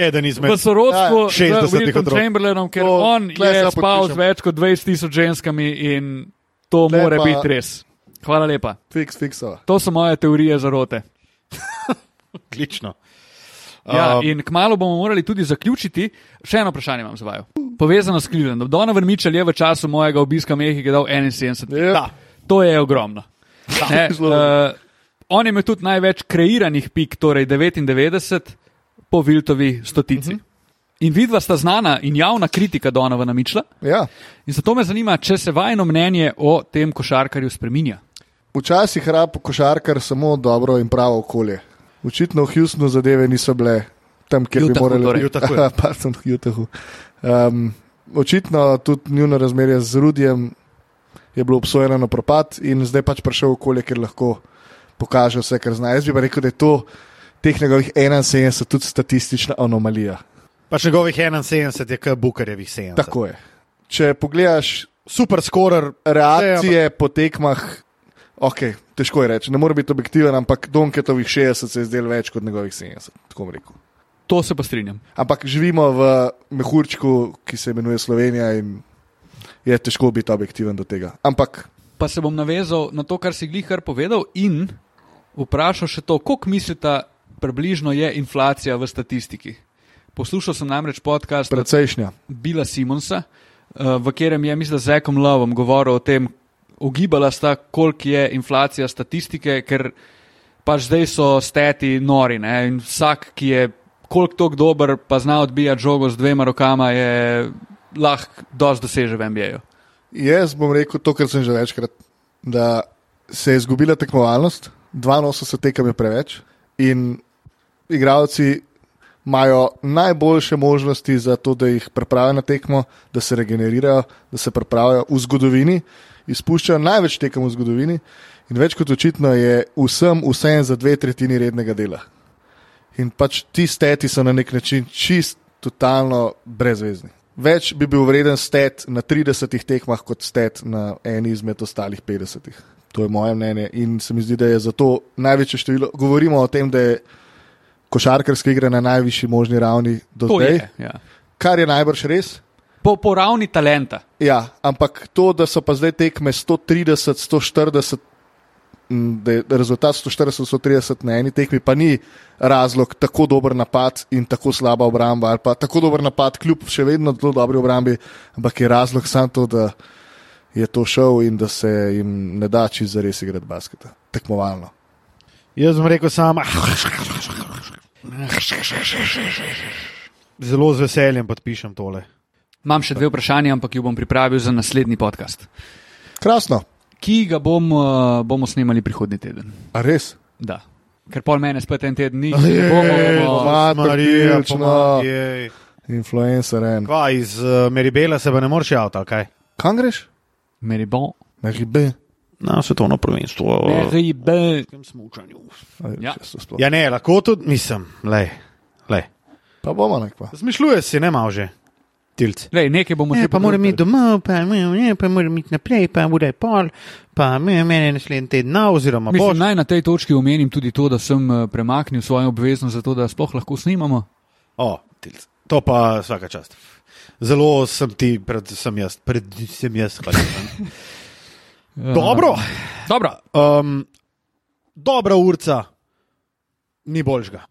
Eden V izmed. sorodstvu Ja, z 60 Wilkom otrok. Chamberlainom, ker To- on tle se je ja spal z podpišem. več kot 20 tisoč ženskami in to Tle mora pa- biti res. Hvala lepa. Fiks, fiksova. To so moje teorije zarote. Odlično. Ja, Um, in kmalo bomo morali tudi zaključiti. Še eno vprašanje imam za vaju. Povezano s Ja. Clevelandom. Donovan Mitchell je v času mojega obiska Mehike dal 71. Yep. Da. To je ogromno. Ne, Zelo. uh, on je imel tudi največ kreiranih pik, torej 99 po Viltovi stotici. Uh -huh. In vidva sta znana in javna kritika Donovana Mičla. Ja. In zato me zanima, če se vajno mnenje o tem košarkarju spreminja. Včasih rab košarkar samo dobro in pravo okolje. Očitno v Houstonu zadeve niso bile tam, kjer Utahu, bi morali torej. Utahu, ja. Aha, Pardon, v Utahu. Um, očitno tudi njuno razmerje z Rudijem je bilo obsojeno na propad in zdaj pač prišel v okolje, kjer lahko pokaže vse, kar zna. Jaz bi pa rekel, da je to teh njegovih 71 tudi statistična anomalija. Pač njegovih 71 je kot Bukarjevih 70. Tako je. Če pogledaš Super skorer, reakcije po tekmah, okay, težko je reči, ne more biti objektiven, ampak Donketovih 60 se je zdel več kot njegovih 70, tako bom rekel. To se pa strinjam. Ampak živimo v mehurčku, ki se imenuje Slovenija in je težko biti objektiven do tega. Ampak Pa se bom navezal na to, kar si glihar povedal, in vprašal še to, koliko mislite, približno je inflacija v statistiki. Poslušal sem namreč podcast od precejšnja. Bila Simonsa, eh, v katerem je, mislim, da z Zekom Lovom govoril o tem, ogibala sta, koliko je inflacija statistike, ker pač zdaj so steti nori. Ne? In vsak, ki je koliko tok dober, pa zna odbijati žogo z dvema rokama, je lahko dosti doseže v MBA-ju. Jaz bom rekel to, kar sem že večkrat, da se je izgubila tekmovalnost, 82 tekem je preveč in igravci imajo najboljše možnosti za to, da jih pripravijo na tekmo, da se regenerirajo, da se pripravijo v zgodovini, izpuščajo največ tekem v zgodovini in več kot očitno je vsem vsem za dve tretjini rednega dela. In pač ti steti so na nek način čist, totalno brezvezni. Več bi bil vreden stet na 30 tekmah kot stet na eni izmed ostalih 50. To je moje mnenje in se mi zdi, da je zato največje število. Govorimo o tem, da je košarkarska igra na najvišji možni ravni do To zdaj, je. Ja. kar je najbrž res. Po, po ravni talenta. Ja, ampak to, da so pa zdaj tekme 130, 140, m, da je rezultat 140, 130 na eni tekmi, pa ni razlog tako dober napad in tako slaba obramba, ali pa tako dober napad, kljub še vedno zelo dobri obrambi, ampak je razlog samo to, da je to šel in da se jim ne da čez res igrati basketa, tekmovalno. Jaz sem rekel sam. Zelo z veseljem podpišem tole. Imam še dve vprašanje, ampak jo bom pripravil za naslednji podcast, Krasno, ki ga bom, eh, bomo snemali prihodnji teden. a res. Da. Ker pol mene spet en teden ni, ne bomo. bomo- Ja, Mat Marija, Prpič, no. pomagaj. Influencer, Kva, iz uh, Meribela se pa ne moreš javiti, ali kaj? kam greš? Meribon. Na ribe. Na svetovno prvenstvo. eh. Meribel. Ja. Ja. Ja, ne, lahko tudi nisem. Lej, lej. Pa bomo nekva. Zmišljuje si, ne malo že. Tilc. Lej, nekaj bomo Ne, že pa moram iti povedali. domov, pa, ne, pa moram iti naprej, pa ura je pol, pa me mene naslednji teden, na, oziroma Mislim, boš. naj na tej točki omenim tudi to, da sem eh, premaknil svojo obveznost, zato da sploh lahko snimamo. O, tilc. To pa vsaka čast. Zelo sem ti, predvsem jaz, predvsem jaz. hvaležen. Eh, Dobro, Dobro. um, dobra urca, ni boljžga.